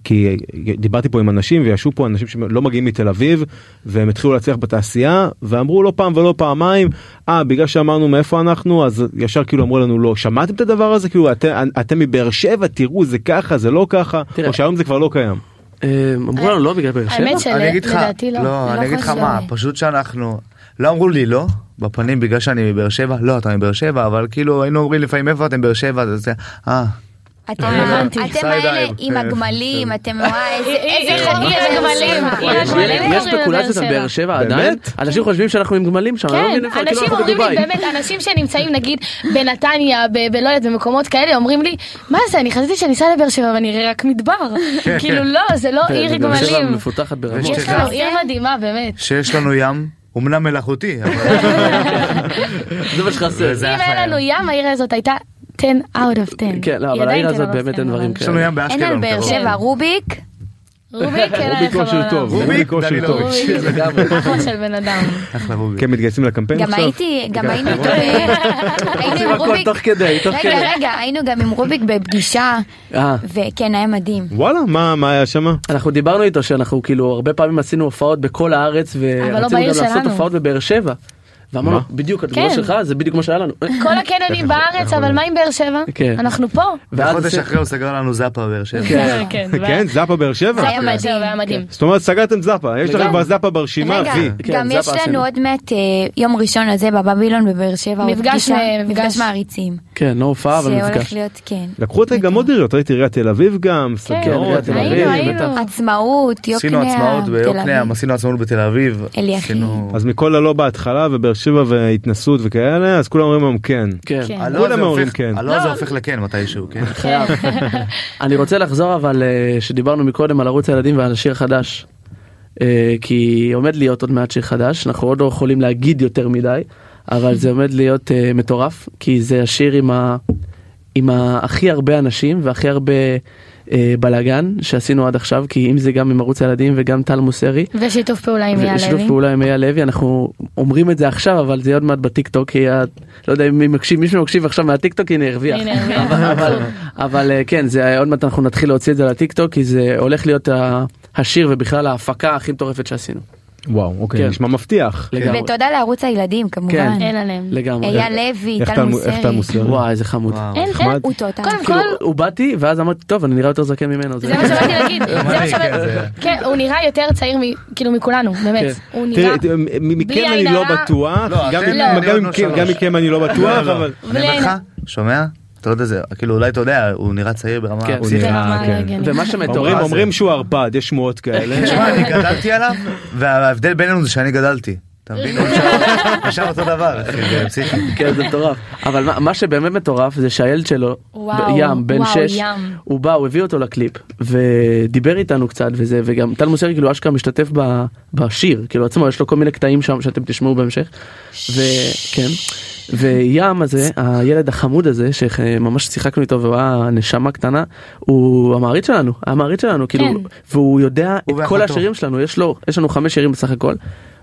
Speaker 2: כי דיברתי פה עם אנשים וישבו פה אנשים שלא מגיעים מתל אביב והם התחילו להצליח בתעשייה ואמרו לא פעם ולא פעמיים אה בגלל שאמרנו מאיפה אנחנו אז ישר כאילו אמרו לנו לא שמעתם את הדבר הזה כאילו אתם אתם מבאר שבע תראו זה ככה זה לא ככה
Speaker 3: תראה.
Speaker 2: או שהיום זה כבר לא קיים.
Speaker 3: אה, אמרו לנו לא בגלל באר שבע.
Speaker 1: האמת
Speaker 5: אני אגיד לך,
Speaker 1: שלדעתי לא.
Speaker 5: לא,
Speaker 1: זה
Speaker 5: אני אגיד לך
Speaker 1: חשוב.
Speaker 5: מה, פשוט שאנחנו, לא אמרו לי לא, בפנים בגלל שאני מבאר שבע, לא אתה מבאר שבע, אבל כאילו היינו אומרים לפעמים איפה אתם באר שבע, אז זה, אה,
Speaker 4: אתם
Speaker 1: הבנתי.
Speaker 4: אתם
Speaker 3: כן.
Speaker 4: האלה
Speaker 5: סיידיים.
Speaker 4: עם הגמלים, אתם וואי, איזה-
Speaker 1: איזה
Speaker 4: איזה
Speaker 1: חגיגה
Speaker 4: חוגג.
Speaker 1: גמלים.
Speaker 3: יש-
Speaker 1: יש גמלים
Speaker 3: יש
Speaker 1: קוראים
Speaker 3: ספקולציות על
Speaker 1: לבאר
Speaker 3: באר שבע
Speaker 2: באמת?
Speaker 3: עדיין אנשים חושבים שאנחנו עם גמלים שם. אני לא
Speaker 1: כן,
Speaker 3: מבין איפה, כאילו,
Speaker 1: אנשים
Speaker 3: אנחנו
Speaker 1: אומרים לי
Speaker 3: בדובאי.
Speaker 1: באמת, אנשים שנמצאים נגיד בנתניה, ב- בלא יודעת, במקומות כאלה, אומרים לי, מה זה, אני חשבתי שאני אסע לבאר שבע ואני אראה רק מדבר. כאילו לא, זה לא
Speaker 3: כן,
Speaker 1: עיר
Speaker 3: באר שבע
Speaker 1: גמלים.
Speaker 3: מפותחת כן. ברמות.
Speaker 5: יש
Speaker 1: יש לנו עיר מדהימה, באמת.
Speaker 5: שיש לנו ים, אמנם מלאכותי, אבל
Speaker 3: זה מה שחסר.
Speaker 5: זה
Speaker 1: אם
Speaker 5: היה
Speaker 1: היה
Speaker 5: חייב.
Speaker 1: לנו ים, העיר הזאת הייתה 10 out of 10.
Speaker 3: כן, לא,
Speaker 1: היא
Speaker 3: אבל
Speaker 1: עדיין
Speaker 3: העיר
Speaker 1: 10
Speaker 3: הזאת
Speaker 1: out of
Speaker 3: באמת
Speaker 1: 10,
Speaker 3: אין דברים
Speaker 1: אבל-
Speaker 5: יש לנו
Speaker 4: אין
Speaker 5: ים
Speaker 4: על
Speaker 5: באשקלון.
Speaker 4: באר
Speaker 5: קרוב.
Speaker 4: שבע, רוביק.
Speaker 1: רוביק, אין עליך
Speaker 2: רוביק כושר
Speaker 1: בעולם.
Speaker 2: טוב.
Speaker 5: רוביק,
Speaker 2: רוביק כושר טוב.
Speaker 5: דנילוביץ'.
Speaker 1: רוביק, אחלה של בן אדם.
Speaker 5: אחלה רובי.
Speaker 2: כן מתגייסים לקמפיין
Speaker 4: גם
Speaker 2: עכשיו.
Speaker 4: הייתי, גם היינו איתו, היינו
Speaker 3: עושים
Speaker 4: עם
Speaker 3: כן. הכל
Speaker 4: רוביק.
Speaker 3: תוך כדי, תוך כדי.
Speaker 4: רגע, רגע, היינו גם עם רוביק בפגישה,
Speaker 3: אה.
Speaker 4: וכן, היה מדהים.
Speaker 2: וואלה מה מה היה שמה
Speaker 3: אנחנו דיברנו איתו שאנחנו כאילו הרבה פעמים עשינו הופעות בכל הארץ
Speaker 1: אבל לא
Speaker 3: ורצינו גם
Speaker 1: בעיר
Speaker 3: לעשות
Speaker 1: שלנו.
Speaker 3: הופעות בבאר שבע. ואמרנו
Speaker 2: מה?
Speaker 3: בדיוק התגובה
Speaker 1: כן.
Speaker 3: שלך זה בדיוק מה שהיה לנו.
Speaker 1: כל הקניונים בארץ, אבל מה עם באר שבע?
Speaker 3: כן.
Speaker 1: אנחנו פה.
Speaker 3: ואז
Speaker 5: וחודש
Speaker 3: עשי-
Speaker 5: אחרי הוא סגר לנו זאפה באר שבע.
Speaker 1: כן,
Speaker 2: כן זאפה באר שבע
Speaker 4: זה היה מדהים.
Speaker 1: זה היה מדהים.
Speaker 2: זאת אומרת סגרתם זאפה יש לכם כבר זאפה ברשימה
Speaker 4: רגע,
Speaker 2: וי.
Speaker 3: כן,
Speaker 4: גם
Speaker 3: זה
Speaker 4: יש
Speaker 3: הבא שלנו.
Speaker 4: לנו עוד מעט אה, יום ראשון הזה בבבילון בבאר שבע. עוד
Speaker 1: מפגש
Speaker 4: פגישה,
Speaker 1: מ- מפגש.
Speaker 4: מפגש מעריצים.
Speaker 3: כן לא הופעה אבל
Speaker 4: שהולך
Speaker 3: מפגש.
Speaker 4: להיות, כן.
Speaker 2: לקחו אותך גם עוד עיריות ראיתי עיריית תל אביב גם
Speaker 1: כן,
Speaker 2: סדנאות.
Speaker 3: עיריית תל אביב,
Speaker 1: היינו, היינו.
Speaker 3: בטח.
Speaker 4: עצמאות,
Speaker 5: עשינו
Speaker 4: יוקנעם,
Speaker 5: עצמאות
Speaker 4: תל
Speaker 5: ביוקנעם,
Speaker 4: אביב.
Speaker 5: עשינו עצמאות בתל אביב.
Speaker 4: אליכין.
Speaker 5: עשינו-
Speaker 2: אז מכל הלא בהתחלה ובאר שבע והתנסות וכאלה אז כולם אומרים להם כן.
Speaker 3: כן.
Speaker 1: כן.
Speaker 5: הלא
Speaker 2: כולם
Speaker 5: הזה
Speaker 2: אומרים
Speaker 5: אה, לא, הופך-
Speaker 2: כן.
Speaker 5: הלא
Speaker 4: לא.
Speaker 5: הזה הופך לכן מתישהו, כן.
Speaker 3: אני רוצה לחזור אבל אה, שדיברנו מקודם על ערוץ הילדים ועל השיר החדש. אה, כי עומד להיות עוד מעט שיר חדש אנחנו עוד לא יכולים להגיד יותר מדי אבל זה עומד להיות אה, מטורף כי זה השיר עם ה... עם ה- הכי הרבה אנשים והכי הרבה אה, בלאגן שעשינו עד עכשיו כי אם זה גם עם ערוץ הילדים וגם טל מוסרי
Speaker 1: ושיתוף פעולה עם אייל
Speaker 3: שיתוף
Speaker 1: לוי.
Speaker 3: פעולה עם אייל לוי אנחנו אומרים את זה עכשיו אבל זה עוד מעט בטיקטוק כי ה- לא יודע אם מי מקשיב מישהו מקשיב עכשיו מהטיקטוק הנה הרוויח
Speaker 1: הנה, הרוויח.
Speaker 3: אבל-
Speaker 2: נכון.
Speaker 3: אבל- אבל אה, כן זה עוד מעט אנחנו נתחיל להוציא את זה לטיקטוק כי זה הולך להיות ה- השיר ובכלל ההפקה הכי מטורפת שעשינו
Speaker 2: וואו אוקיי
Speaker 3: כן.
Speaker 2: נשמע מבטיח.
Speaker 3: לגמרי
Speaker 4: ותודה לערוץ הילדים כמובן.
Speaker 3: כן.
Speaker 1: אין עליהם.
Speaker 3: לגמרי
Speaker 4: אייל לוי,
Speaker 2: איך
Speaker 4: טל
Speaker 2: טל- איך טל
Speaker 4: מוסרי.
Speaker 2: מוסרי?
Speaker 3: וואי איזה חמוד
Speaker 5: וואו.
Speaker 1: אין,
Speaker 2: נחמד.
Speaker 1: אין.
Speaker 4: הוא טוטה.
Speaker 1: קודם כל,
Speaker 3: כאילו הוא באתי ואז אמרתי טוב אני נראה יותר זקן ממנו
Speaker 1: זה מה שבאתי להגיד. זה מה שבאתי- כן, הוא נראה יותר צעיר מ- כאילו מכולנו, באמת. הוא
Speaker 2: תראי,
Speaker 1: נראה...
Speaker 2: תראי, כן. מ- מ-
Speaker 1: בלי
Speaker 2: מכם אני
Speaker 1: עין
Speaker 2: לא
Speaker 1: הרע.
Speaker 2: בטוח,
Speaker 5: לא,
Speaker 2: גם
Speaker 5: אתם-
Speaker 2: מכם-
Speaker 5: לא.
Speaker 2: גם
Speaker 5: אני עוד
Speaker 2: מכם-
Speaker 5: לא
Speaker 2: גם
Speaker 5: שלוש.
Speaker 2: מכם אני לא בטוח, אבל...
Speaker 5: אני אומר לך, שומע? אתה יודע זה, כאילו אולי אתה יודע, הוא נראה צעיר ברמה
Speaker 3: כן.
Speaker 2: הוא
Speaker 5: פסיכית.
Speaker 2: נראה,
Speaker 1: ברמה
Speaker 2: כן.
Speaker 1: לא הגיונית.
Speaker 3: ומה שמטורף
Speaker 2: אומרים-
Speaker 3: זה-
Speaker 2: אומרים שהוא ערפד, יש שמועות כאלה.
Speaker 3: כן.
Speaker 5: תשמע, אני גדלתי עליו, וההבדל בינינו זה שאני גדלתי. אתה מבין? הוא נשאר- נשאר אותו דבר, אחי, זה פסיכי.
Speaker 3: כן זה מטורף אבל מה, מה שבאמת מטורף זה שהילד שלו
Speaker 1: וואו,
Speaker 3: ים בן
Speaker 1: וואו,
Speaker 3: שש
Speaker 1: ים.
Speaker 3: הוא בא הוא הביא אותו לקליפ ודיבר איתנו קצת וזה וגם טל מוסרי כאילו אשכרה משתתף ב, בשיר כאילו עצמו יש לו כל מיני קטעים שם שאתם תשמעו בהמשך וכן וים הזה, הילד החמוד הזה, שממש שיחקנו איתו והוא היה נשמה קטנה, הוא המעריץ שלנו, המעריץ שלנו, כאילו,
Speaker 1: כן.
Speaker 3: והוא יודע את
Speaker 5: הוא
Speaker 3: כל
Speaker 5: ואחותו.
Speaker 3: השירים שלנו, יש לו, יש לנו חמש שירים בסך הכל,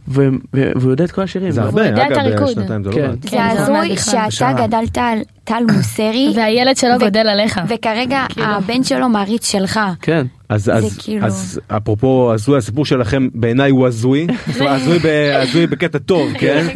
Speaker 3: ו- ו- והוא יודע את כל השירים.
Speaker 2: זה
Speaker 1: הוא
Speaker 2: הרבה,
Speaker 1: יודע את
Speaker 2: אגב,
Speaker 1: הריקוד.
Speaker 2: שנתיים זה לא
Speaker 3: כן.
Speaker 2: מעט.
Speaker 1: כן,
Speaker 4: זה
Speaker 1: זה לא
Speaker 4: הזוי
Speaker 1: מעט בכלל.
Speaker 4: שאתה גדלת על טל מוסרי,
Speaker 1: והילד שלו
Speaker 4: ו-
Speaker 1: גודל עליך.
Speaker 4: וכרגע
Speaker 3: כאילו.
Speaker 4: הבן שלו מעריץ שלך.
Speaker 3: כן.
Speaker 2: אז,
Speaker 4: זה
Speaker 2: אז,
Speaker 4: כאילו-
Speaker 2: אז אפרופו הזוי הסיפור שלכם בעיניי הוא הזוי, זאת אומרת, הזוי, ב, הזוי בקטע טוב כן,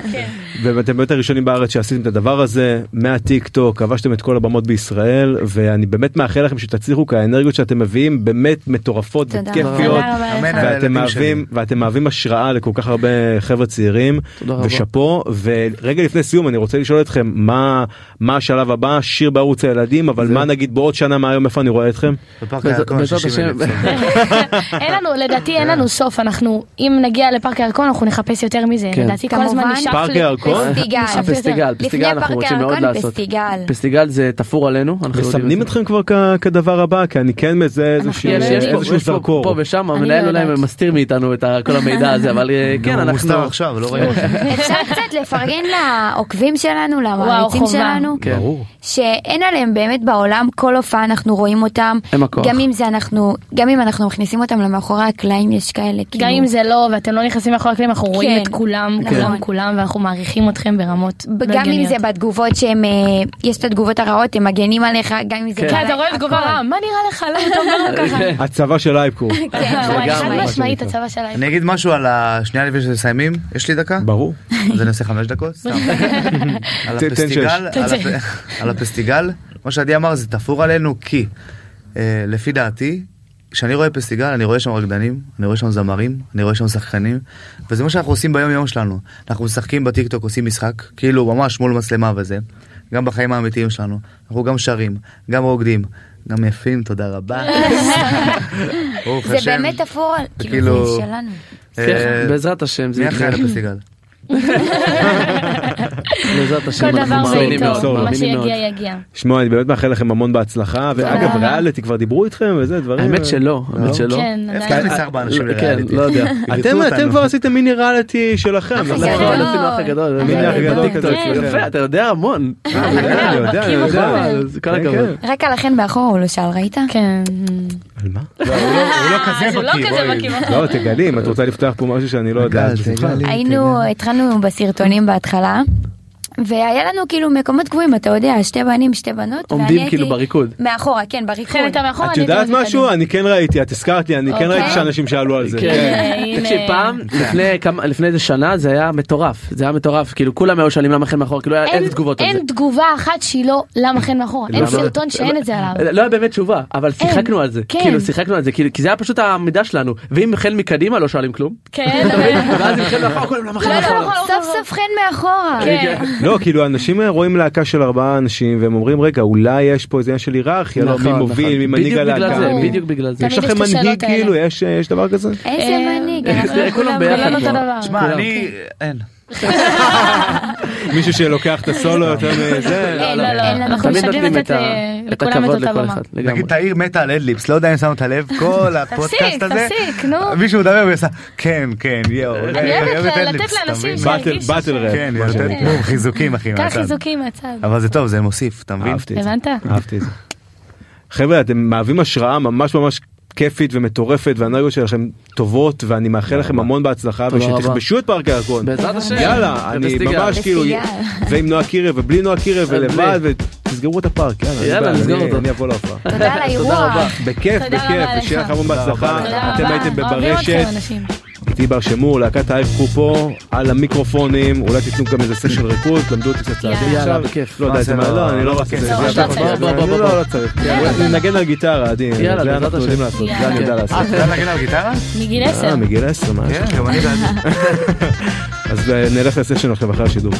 Speaker 2: ואתם באמת הראשונים בארץ שעשיתם את הדבר הזה מהטיק טוק כבשתם את כל הבמות בישראל ואני באמת מאחל לכם שתצליחו כי האנרגיות שאתם מביאים באמת מטורפות
Speaker 4: תודה.
Speaker 2: וכיפיות
Speaker 4: תודה רבה לך.
Speaker 5: אמן. על
Speaker 2: ואתם
Speaker 5: הילדים
Speaker 2: מהווים ואתם מהווים השראה לכל כך הרבה חבר'ה צעירים
Speaker 3: תודה רבה.
Speaker 2: ושאפו ורגע לפני סיום אני רוצה לשאול אתכם מה מה השלב הבא שיר בערוץ הילדים אבל מה נגיד בעוד שנה מהיום איפה אני רואה אתכם.
Speaker 5: בפארק
Speaker 3: בעזרת-
Speaker 5: הירקון,
Speaker 3: בעזרת
Speaker 5: 60,000
Speaker 3: השם.
Speaker 5: צופים.
Speaker 1: אין לנו, לדעתי אין לנו סוף, אנחנו, אם נגיע לפארק הירקון אנחנו נחפש יותר מזה,
Speaker 3: כן.
Speaker 1: לדעתי כל הזמן
Speaker 4: כמובן.
Speaker 1: נשאף...
Speaker 2: פארק
Speaker 1: ל-
Speaker 2: הירקון?
Speaker 4: פסטיגל.
Speaker 1: נשאף אה, יותר.
Speaker 3: הפסטיגל,
Speaker 4: לפני
Speaker 3: אה, פסטיגל אנחנו
Speaker 4: פארק
Speaker 3: רוצים מאוד
Speaker 4: הירקון,
Speaker 3: לעשות.
Speaker 4: פסטיגל.
Speaker 3: פסטיגל זה תפור עלינו. אנחנו לא יודעים את
Speaker 2: מסמנים
Speaker 3: זה.
Speaker 2: אתכם כבר כ- כדבר הבא כי אני כן מזהה איזשהו
Speaker 3: יש, יש פה-
Speaker 2: איזשהו
Speaker 3: יש פה- פה
Speaker 2: זרקור.
Speaker 3: ושם,
Speaker 1: אני
Speaker 3: המנהל
Speaker 1: לא
Speaker 3: אולי
Speaker 1: יודעת.
Speaker 3: מסתיר מאיתנו את ה- כל המידע הזה, אבל אה, כן,
Speaker 5: הוא
Speaker 3: אנחנו...
Speaker 5: מוסתר עכשיו, לא ראינו.
Speaker 4: אפשר קצת לפרגן לעוקבים שלנו, למעריצים
Speaker 1: חובה.
Speaker 4: שלנו,
Speaker 3: כן.
Speaker 2: ברור.
Speaker 4: שאין עליהם באמת בעולם, כל הופעה אנחנו רואים אותם.
Speaker 3: הם הכוח.
Speaker 4: גם אם זה אנחנו, גם אם אנחנו מכניסים אותם למאחורי הקלעים, יש כאלה, כאילו.
Speaker 1: גם אם זה לא, ואתם לא נכנסים מאחורי הקלעים, אנחנו רואים
Speaker 4: כן.
Speaker 1: את כולם,
Speaker 4: כן.
Speaker 1: כולם, כולם, ואנחנו מעריכים אתכם ברמות לא
Speaker 4: גם אם
Speaker 1: הגיוניות.
Speaker 4: זה בתגובות שהם, אה, יש את התגובות הרעות, הם מגנים עליך, גם אם זה...
Speaker 3: כן.
Speaker 1: כן,
Speaker 4: ככה,
Speaker 1: אתה רואה תגובה
Speaker 4: הכל.
Speaker 1: רעה, מה נראה לך? למה אתה אומר לו ככה?
Speaker 2: הצבא של אייפקור.
Speaker 1: וואי,
Speaker 3: כן, לגמרי.
Speaker 1: חד
Speaker 2: מה
Speaker 1: משמעית
Speaker 2: שנקרא.
Speaker 1: הצבא שלהם.
Speaker 5: אני אגיד משהו על השנייה לפני שמסיימים, יש לי דקה?
Speaker 2: ברור.
Speaker 5: אז אני עושה חמש דקות? סתם. על
Speaker 2: תן- תן שש.
Speaker 5: הפסטיגל,
Speaker 1: תן
Speaker 5: על
Speaker 1: שש.
Speaker 5: הפ- על הפסטיגל, כמו שעדי אמר, זה תפור עלינו כי אה, לפי דעתי, כשאני רואה פסטיגל, אני רואה שם רקדנים, אני רואה שם זמרים, אני רואה שם שחקנים, וזה מה שאנחנו עושים ביום יום שלנו. אנחנו משחקים בטיקטוק, עושים משחק, כאילו ממש מול מצלמה וזה, גם בחיים האמיתיים שלנו. אנחנו גם שרים, גם רוקדים, גם יפים, תודה רבה. ברוך
Speaker 4: זה
Speaker 5: השם. אה,
Speaker 4: באמת אפור, על- כאילו,
Speaker 5: כאילו-
Speaker 4: זה שלנו.
Speaker 5: אה,
Speaker 3: בעזרת השם זה
Speaker 5: מי אחראי
Speaker 3: יקרה.
Speaker 5: על הפסטיגל?
Speaker 3: בעזרת השם
Speaker 1: כל דבר
Speaker 3: אנחנו מאמינים
Speaker 1: בעיתו,
Speaker 3: מאוד.
Speaker 1: מה
Speaker 3: מאמינים מאוד.
Speaker 1: שיגיע יגיע.
Speaker 2: שמע אני באמת מאחל לכם המון בהצלחה ואגב
Speaker 1: רבה.
Speaker 2: ריאליטי כבר דיברו איתכם וזה דברים. אה,
Speaker 3: האמת שלא, האמת שלא.
Speaker 1: כן,
Speaker 5: איך
Speaker 1: עדיין.
Speaker 5: נכניס ארבע אנשים
Speaker 3: כן,
Speaker 5: לריאליטי?
Speaker 3: לא יודע.
Speaker 2: אתם
Speaker 5: אילצו
Speaker 2: אתם
Speaker 5: אותנו.
Speaker 2: כבר עשיתם מיני ריאליטי שלכם.
Speaker 4: אחי,
Speaker 1: לא-
Speaker 2: נכון?
Speaker 4: זה
Speaker 3: נכון,
Speaker 4: גדול.
Speaker 3: עשינו אח הגדול.
Speaker 2: מיני
Speaker 4: אח
Speaker 2: הגדול
Speaker 4: גדול,
Speaker 2: כזה.
Speaker 1: כן.
Speaker 2: אצלכם.
Speaker 3: יפה, אתה יודע המון.
Speaker 2: אני
Speaker 3: כן,
Speaker 2: יודע, אה, אני יודע, אני
Speaker 1: בכל
Speaker 2: יודע.
Speaker 1: דבר.
Speaker 3: אז כל
Speaker 2: כן,
Speaker 3: הכבוד.
Speaker 2: כן.
Speaker 4: רק עליכן באחורה הוא לא שאל, ראית?
Speaker 1: כן.
Speaker 2: על מה?
Speaker 5: הוא לא
Speaker 1: אז הוא לא כזה
Speaker 5: בואי.
Speaker 1: בקיא.
Speaker 2: לא תגלי אם את רוצה לפתוח פה משהו שאני לא יודע.
Speaker 5: תגל,
Speaker 2: אז בשמחה.
Speaker 4: נכון,
Speaker 5: תגל.
Speaker 4: היינו, התחלנו בסרטונים בהתחלה. והיה לנו כאילו מקומות קבועים, אתה יודע, שתי בנים, שתי בנות.
Speaker 3: עומדים
Speaker 4: ואני
Speaker 3: כאילו
Speaker 4: הייתי
Speaker 3: בריקוד.
Speaker 4: מאחורה, כן, בריקוד.
Speaker 3: נכון.
Speaker 1: חן הייתה מאחורה,
Speaker 2: את
Speaker 1: אני
Speaker 2: יודעת
Speaker 1: הייתי
Speaker 2: משהו? אני כן ראיתי את הזכרת לי אני כן
Speaker 1: אוקיי.
Speaker 2: ראיתי שאנשים שאלו על זה.
Speaker 3: כן.
Speaker 1: הנה.
Speaker 3: תקשיב פעם לפני כמה לפני איזה שנה זה היה מטורף זה היה מטורף כאילו כולם היו שואלים למה חן מאחור כאילו היה
Speaker 1: אין-
Speaker 3: אין תגובות על זה.
Speaker 1: אין תגובה אחת שהיא לא למה חן מאחורה. אין
Speaker 3: למה?
Speaker 1: סרטון שאין את זה עליו.
Speaker 3: לא היה באמת תשובה אבל שיחקנו על זה
Speaker 1: כן.
Speaker 3: כאילו שיחקנו על זה כאילו כי זה היה פשוט המידע שלנו ואם חן מקדימה לא שואלים כלום
Speaker 1: כן,
Speaker 3: ואז אם חן מאחור כולם למה חן
Speaker 1: לא, לא,
Speaker 3: מאחור.
Speaker 1: לא, לא,
Speaker 4: סוף סוף חן מאחורה.
Speaker 1: כן.
Speaker 2: לא כאילו אנשים רואים להקה של ארבעה אנשים והם אומרים רגע אולי יש פה איזה עניין של היררכיה לא מי
Speaker 3: נכון,
Speaker 2: מוביל
Speaker 3: נכון.
Speaker 2: מי מנהיג
Speaker 3: בדיוק בגלל
Speaker 2: הלהקה.
Speaker 3: זה,
Speaker 2: מי-
Speaker 3: בדיוק בגלל זה.
Speaker 1: תמיד
Speaker 2: יש
Speaker 1: יש
Speaker 2: לכם
Speaker 1: את השאלות
Speaker 2: מנהיג
Speaker 1: האלה.
Speaker 2: כאילו יש יש דבר כזה?
Speaker 4: איזה
Speaker 1: אה,
Speaker 4: מנהיג.
Speaker 3: אה,
Speaker 4: אנחנו
Speaker 3: כולם ביחד.
Speaker 1: כולם אותו דבר.
Speaker 5: שמע, אני... אין.
Speaker 2: מישהו שלוקח את הסולו יותר מזה?
Speaker 1: אין, לא, לא,
Speaker 3: אין לנו.
Speaker 1: אנחנו
Speaker 3: תמיד
Speaker 1: משתדלים
Speaker 3: נותנים
Speaker 1: לתת
Speaker 3: את ה-
Speaker 1: ל-
Speaker 3: את
Speaker 1: לכולם
Speaker 3: הכבוד
Speaker 1: את אותה
Speaker 3: לכל
Speaker 1: במה.
Speaker 3: אחד, לגמרי.
Speaker 5: נגיד תאיר מתה על אדליפס, לא יודע אם שמת לב, כל הפודקאסט הזה.
Speaker 1: תפסיק, נו.
Speaker 5: מישהו מדבר ועושה, כן, כן, יואו.
Speaker 1: אני אוהבת לתת לאנשים
Speaker 5: ש...
Speaker 2: באטל-
Speaker 1: שירגישו
Speaker 2: באטל
Speaker 1: ש-
Speaker 2: ראפ.
Speaker 5: כן, היא נותנת בום, חיזוקים, אחי,
Speaker 1: קח
Speaker 5: מהצד.
Speaker 1: חיזוקים מהצד.
Speaker 5: אבל זה טוב, זה מוסיף, אתה מבין?
Speaker 2: אהבתי את זה.
Speaker 1: הבנת?
Speaker 2: אהבתי את זה. חבר'ה אתם מהווים השראה ממש ממש כיפית ומטורפת והאנרגיות שלכם טובות ואני מאחל לכם המון בהצלחה
Speaker 3: תודה רבה.
Speaker 2: ושתכבשו את פארק הירקון.
Speaker 3: בעזרת השם.
Speaker 2: יאללה אני
Speaker 3: בפסטיגל.
Speaker 2: ממש כאילו
Speaker 4: בפסטיגל.
Speaker 2: ועם נועה קירב ובלי נועה קירב
Speaker 3: ובלי.
Speaker 2: ולבד ותסגרו את הפארק יאללה, אני
Speaker 3: יאללה,
Speaker 2: בעד,
Speaker 3: נסגור
Speaker 2: אני-
Speaker 3: אותו.
Speaker 2: אני אבוא להופעה.
Speaker 4: תודה על האירוח.
Speaker 2: בכיף
Speaker 1: תודה
Speaker 2: בכיף
Speaker 1: רבה לך.
Speaker 2: ושיהיה לכם המון
Speaker 5: תודה
Speaker 2: בהצלחה.
Speaker 1: תודה
Speaker 2: אתם
Speaker 1: רבה.
Speaker 2: הייתם
Speaker 1: אוהבים אתכם,
Speaker 2: בברשת.
Speaker 1: אנשים.
Speaker 2: איתי בר שמור, להקת האייפ קופו, על המיקרופונים, אולי תיתנו גם איזה סשן ריקוד, למדו אותי קצת צעדים
Speaker 1: יאללה,
Speaker 2: עכשיו.
Speaker 3: בכיף.
Speaker 2: לא יודע,
Speaker 5: מה
Speaker 2: זה
Speaker 5: זה
Speaker 2: מה,
Speaker 5: לא-
Speaker 2: לא, אני לא רץ את זה.
Speaker 5: לא,
Speaker 2: זה
Speaker 1: לא
Speaker 2: אתה-
Speaker 1: צריך.
Speaker 3: בוא, בוא,
Speaker 2: אני
Speaker 3: בוא.
Speaker 2: לא, לא צריך. נגן על גיטרה, עדי,
Speaker 3: יאללה,
Speaker 2: זה
Speaker 3: בעזרת
Speaker 2: אנחנו יודעים
Speaker 3: השם.
Speaker 2: לעשות, זה אני יודע
Speaker 3: יאללה.
Speaker 2: לעשות.
Speaker 5: אה, אתה יודע להגן על גיטרה?
Speaker 1: מגיל עשר.
Speaker 2: אה, מגיל 10, מה יש?
Speaker 5: כן, גם אני יודעת.
Speaker 2: אז אה, נלך לסשן עכשיו אחרי השידור.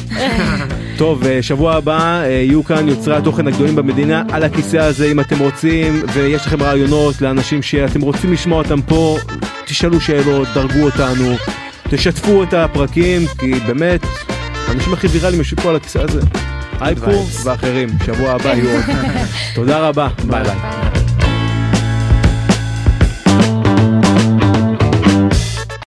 Speaker 2: טוב, אה, שבוע הבא אה, יהיו כאן יוצרי התוכן הגדולים במדינה על הכיסא הזה אם אתם רוצים, ויש לכם רעיונות לאנשים שאתם רוצים לשמוע אותם פה, תשאלו שאלות, דרגו אותנו, תשתפו את הפרקים, כי באמת, האנשים הכי ויראליים יושבים פה על הכיסא הזה. אייפו
Speaker 5: Advice.
Speaker 2: ואחרים, שבוע הבא יהיו עוד. תודה רבה, ביי ביי.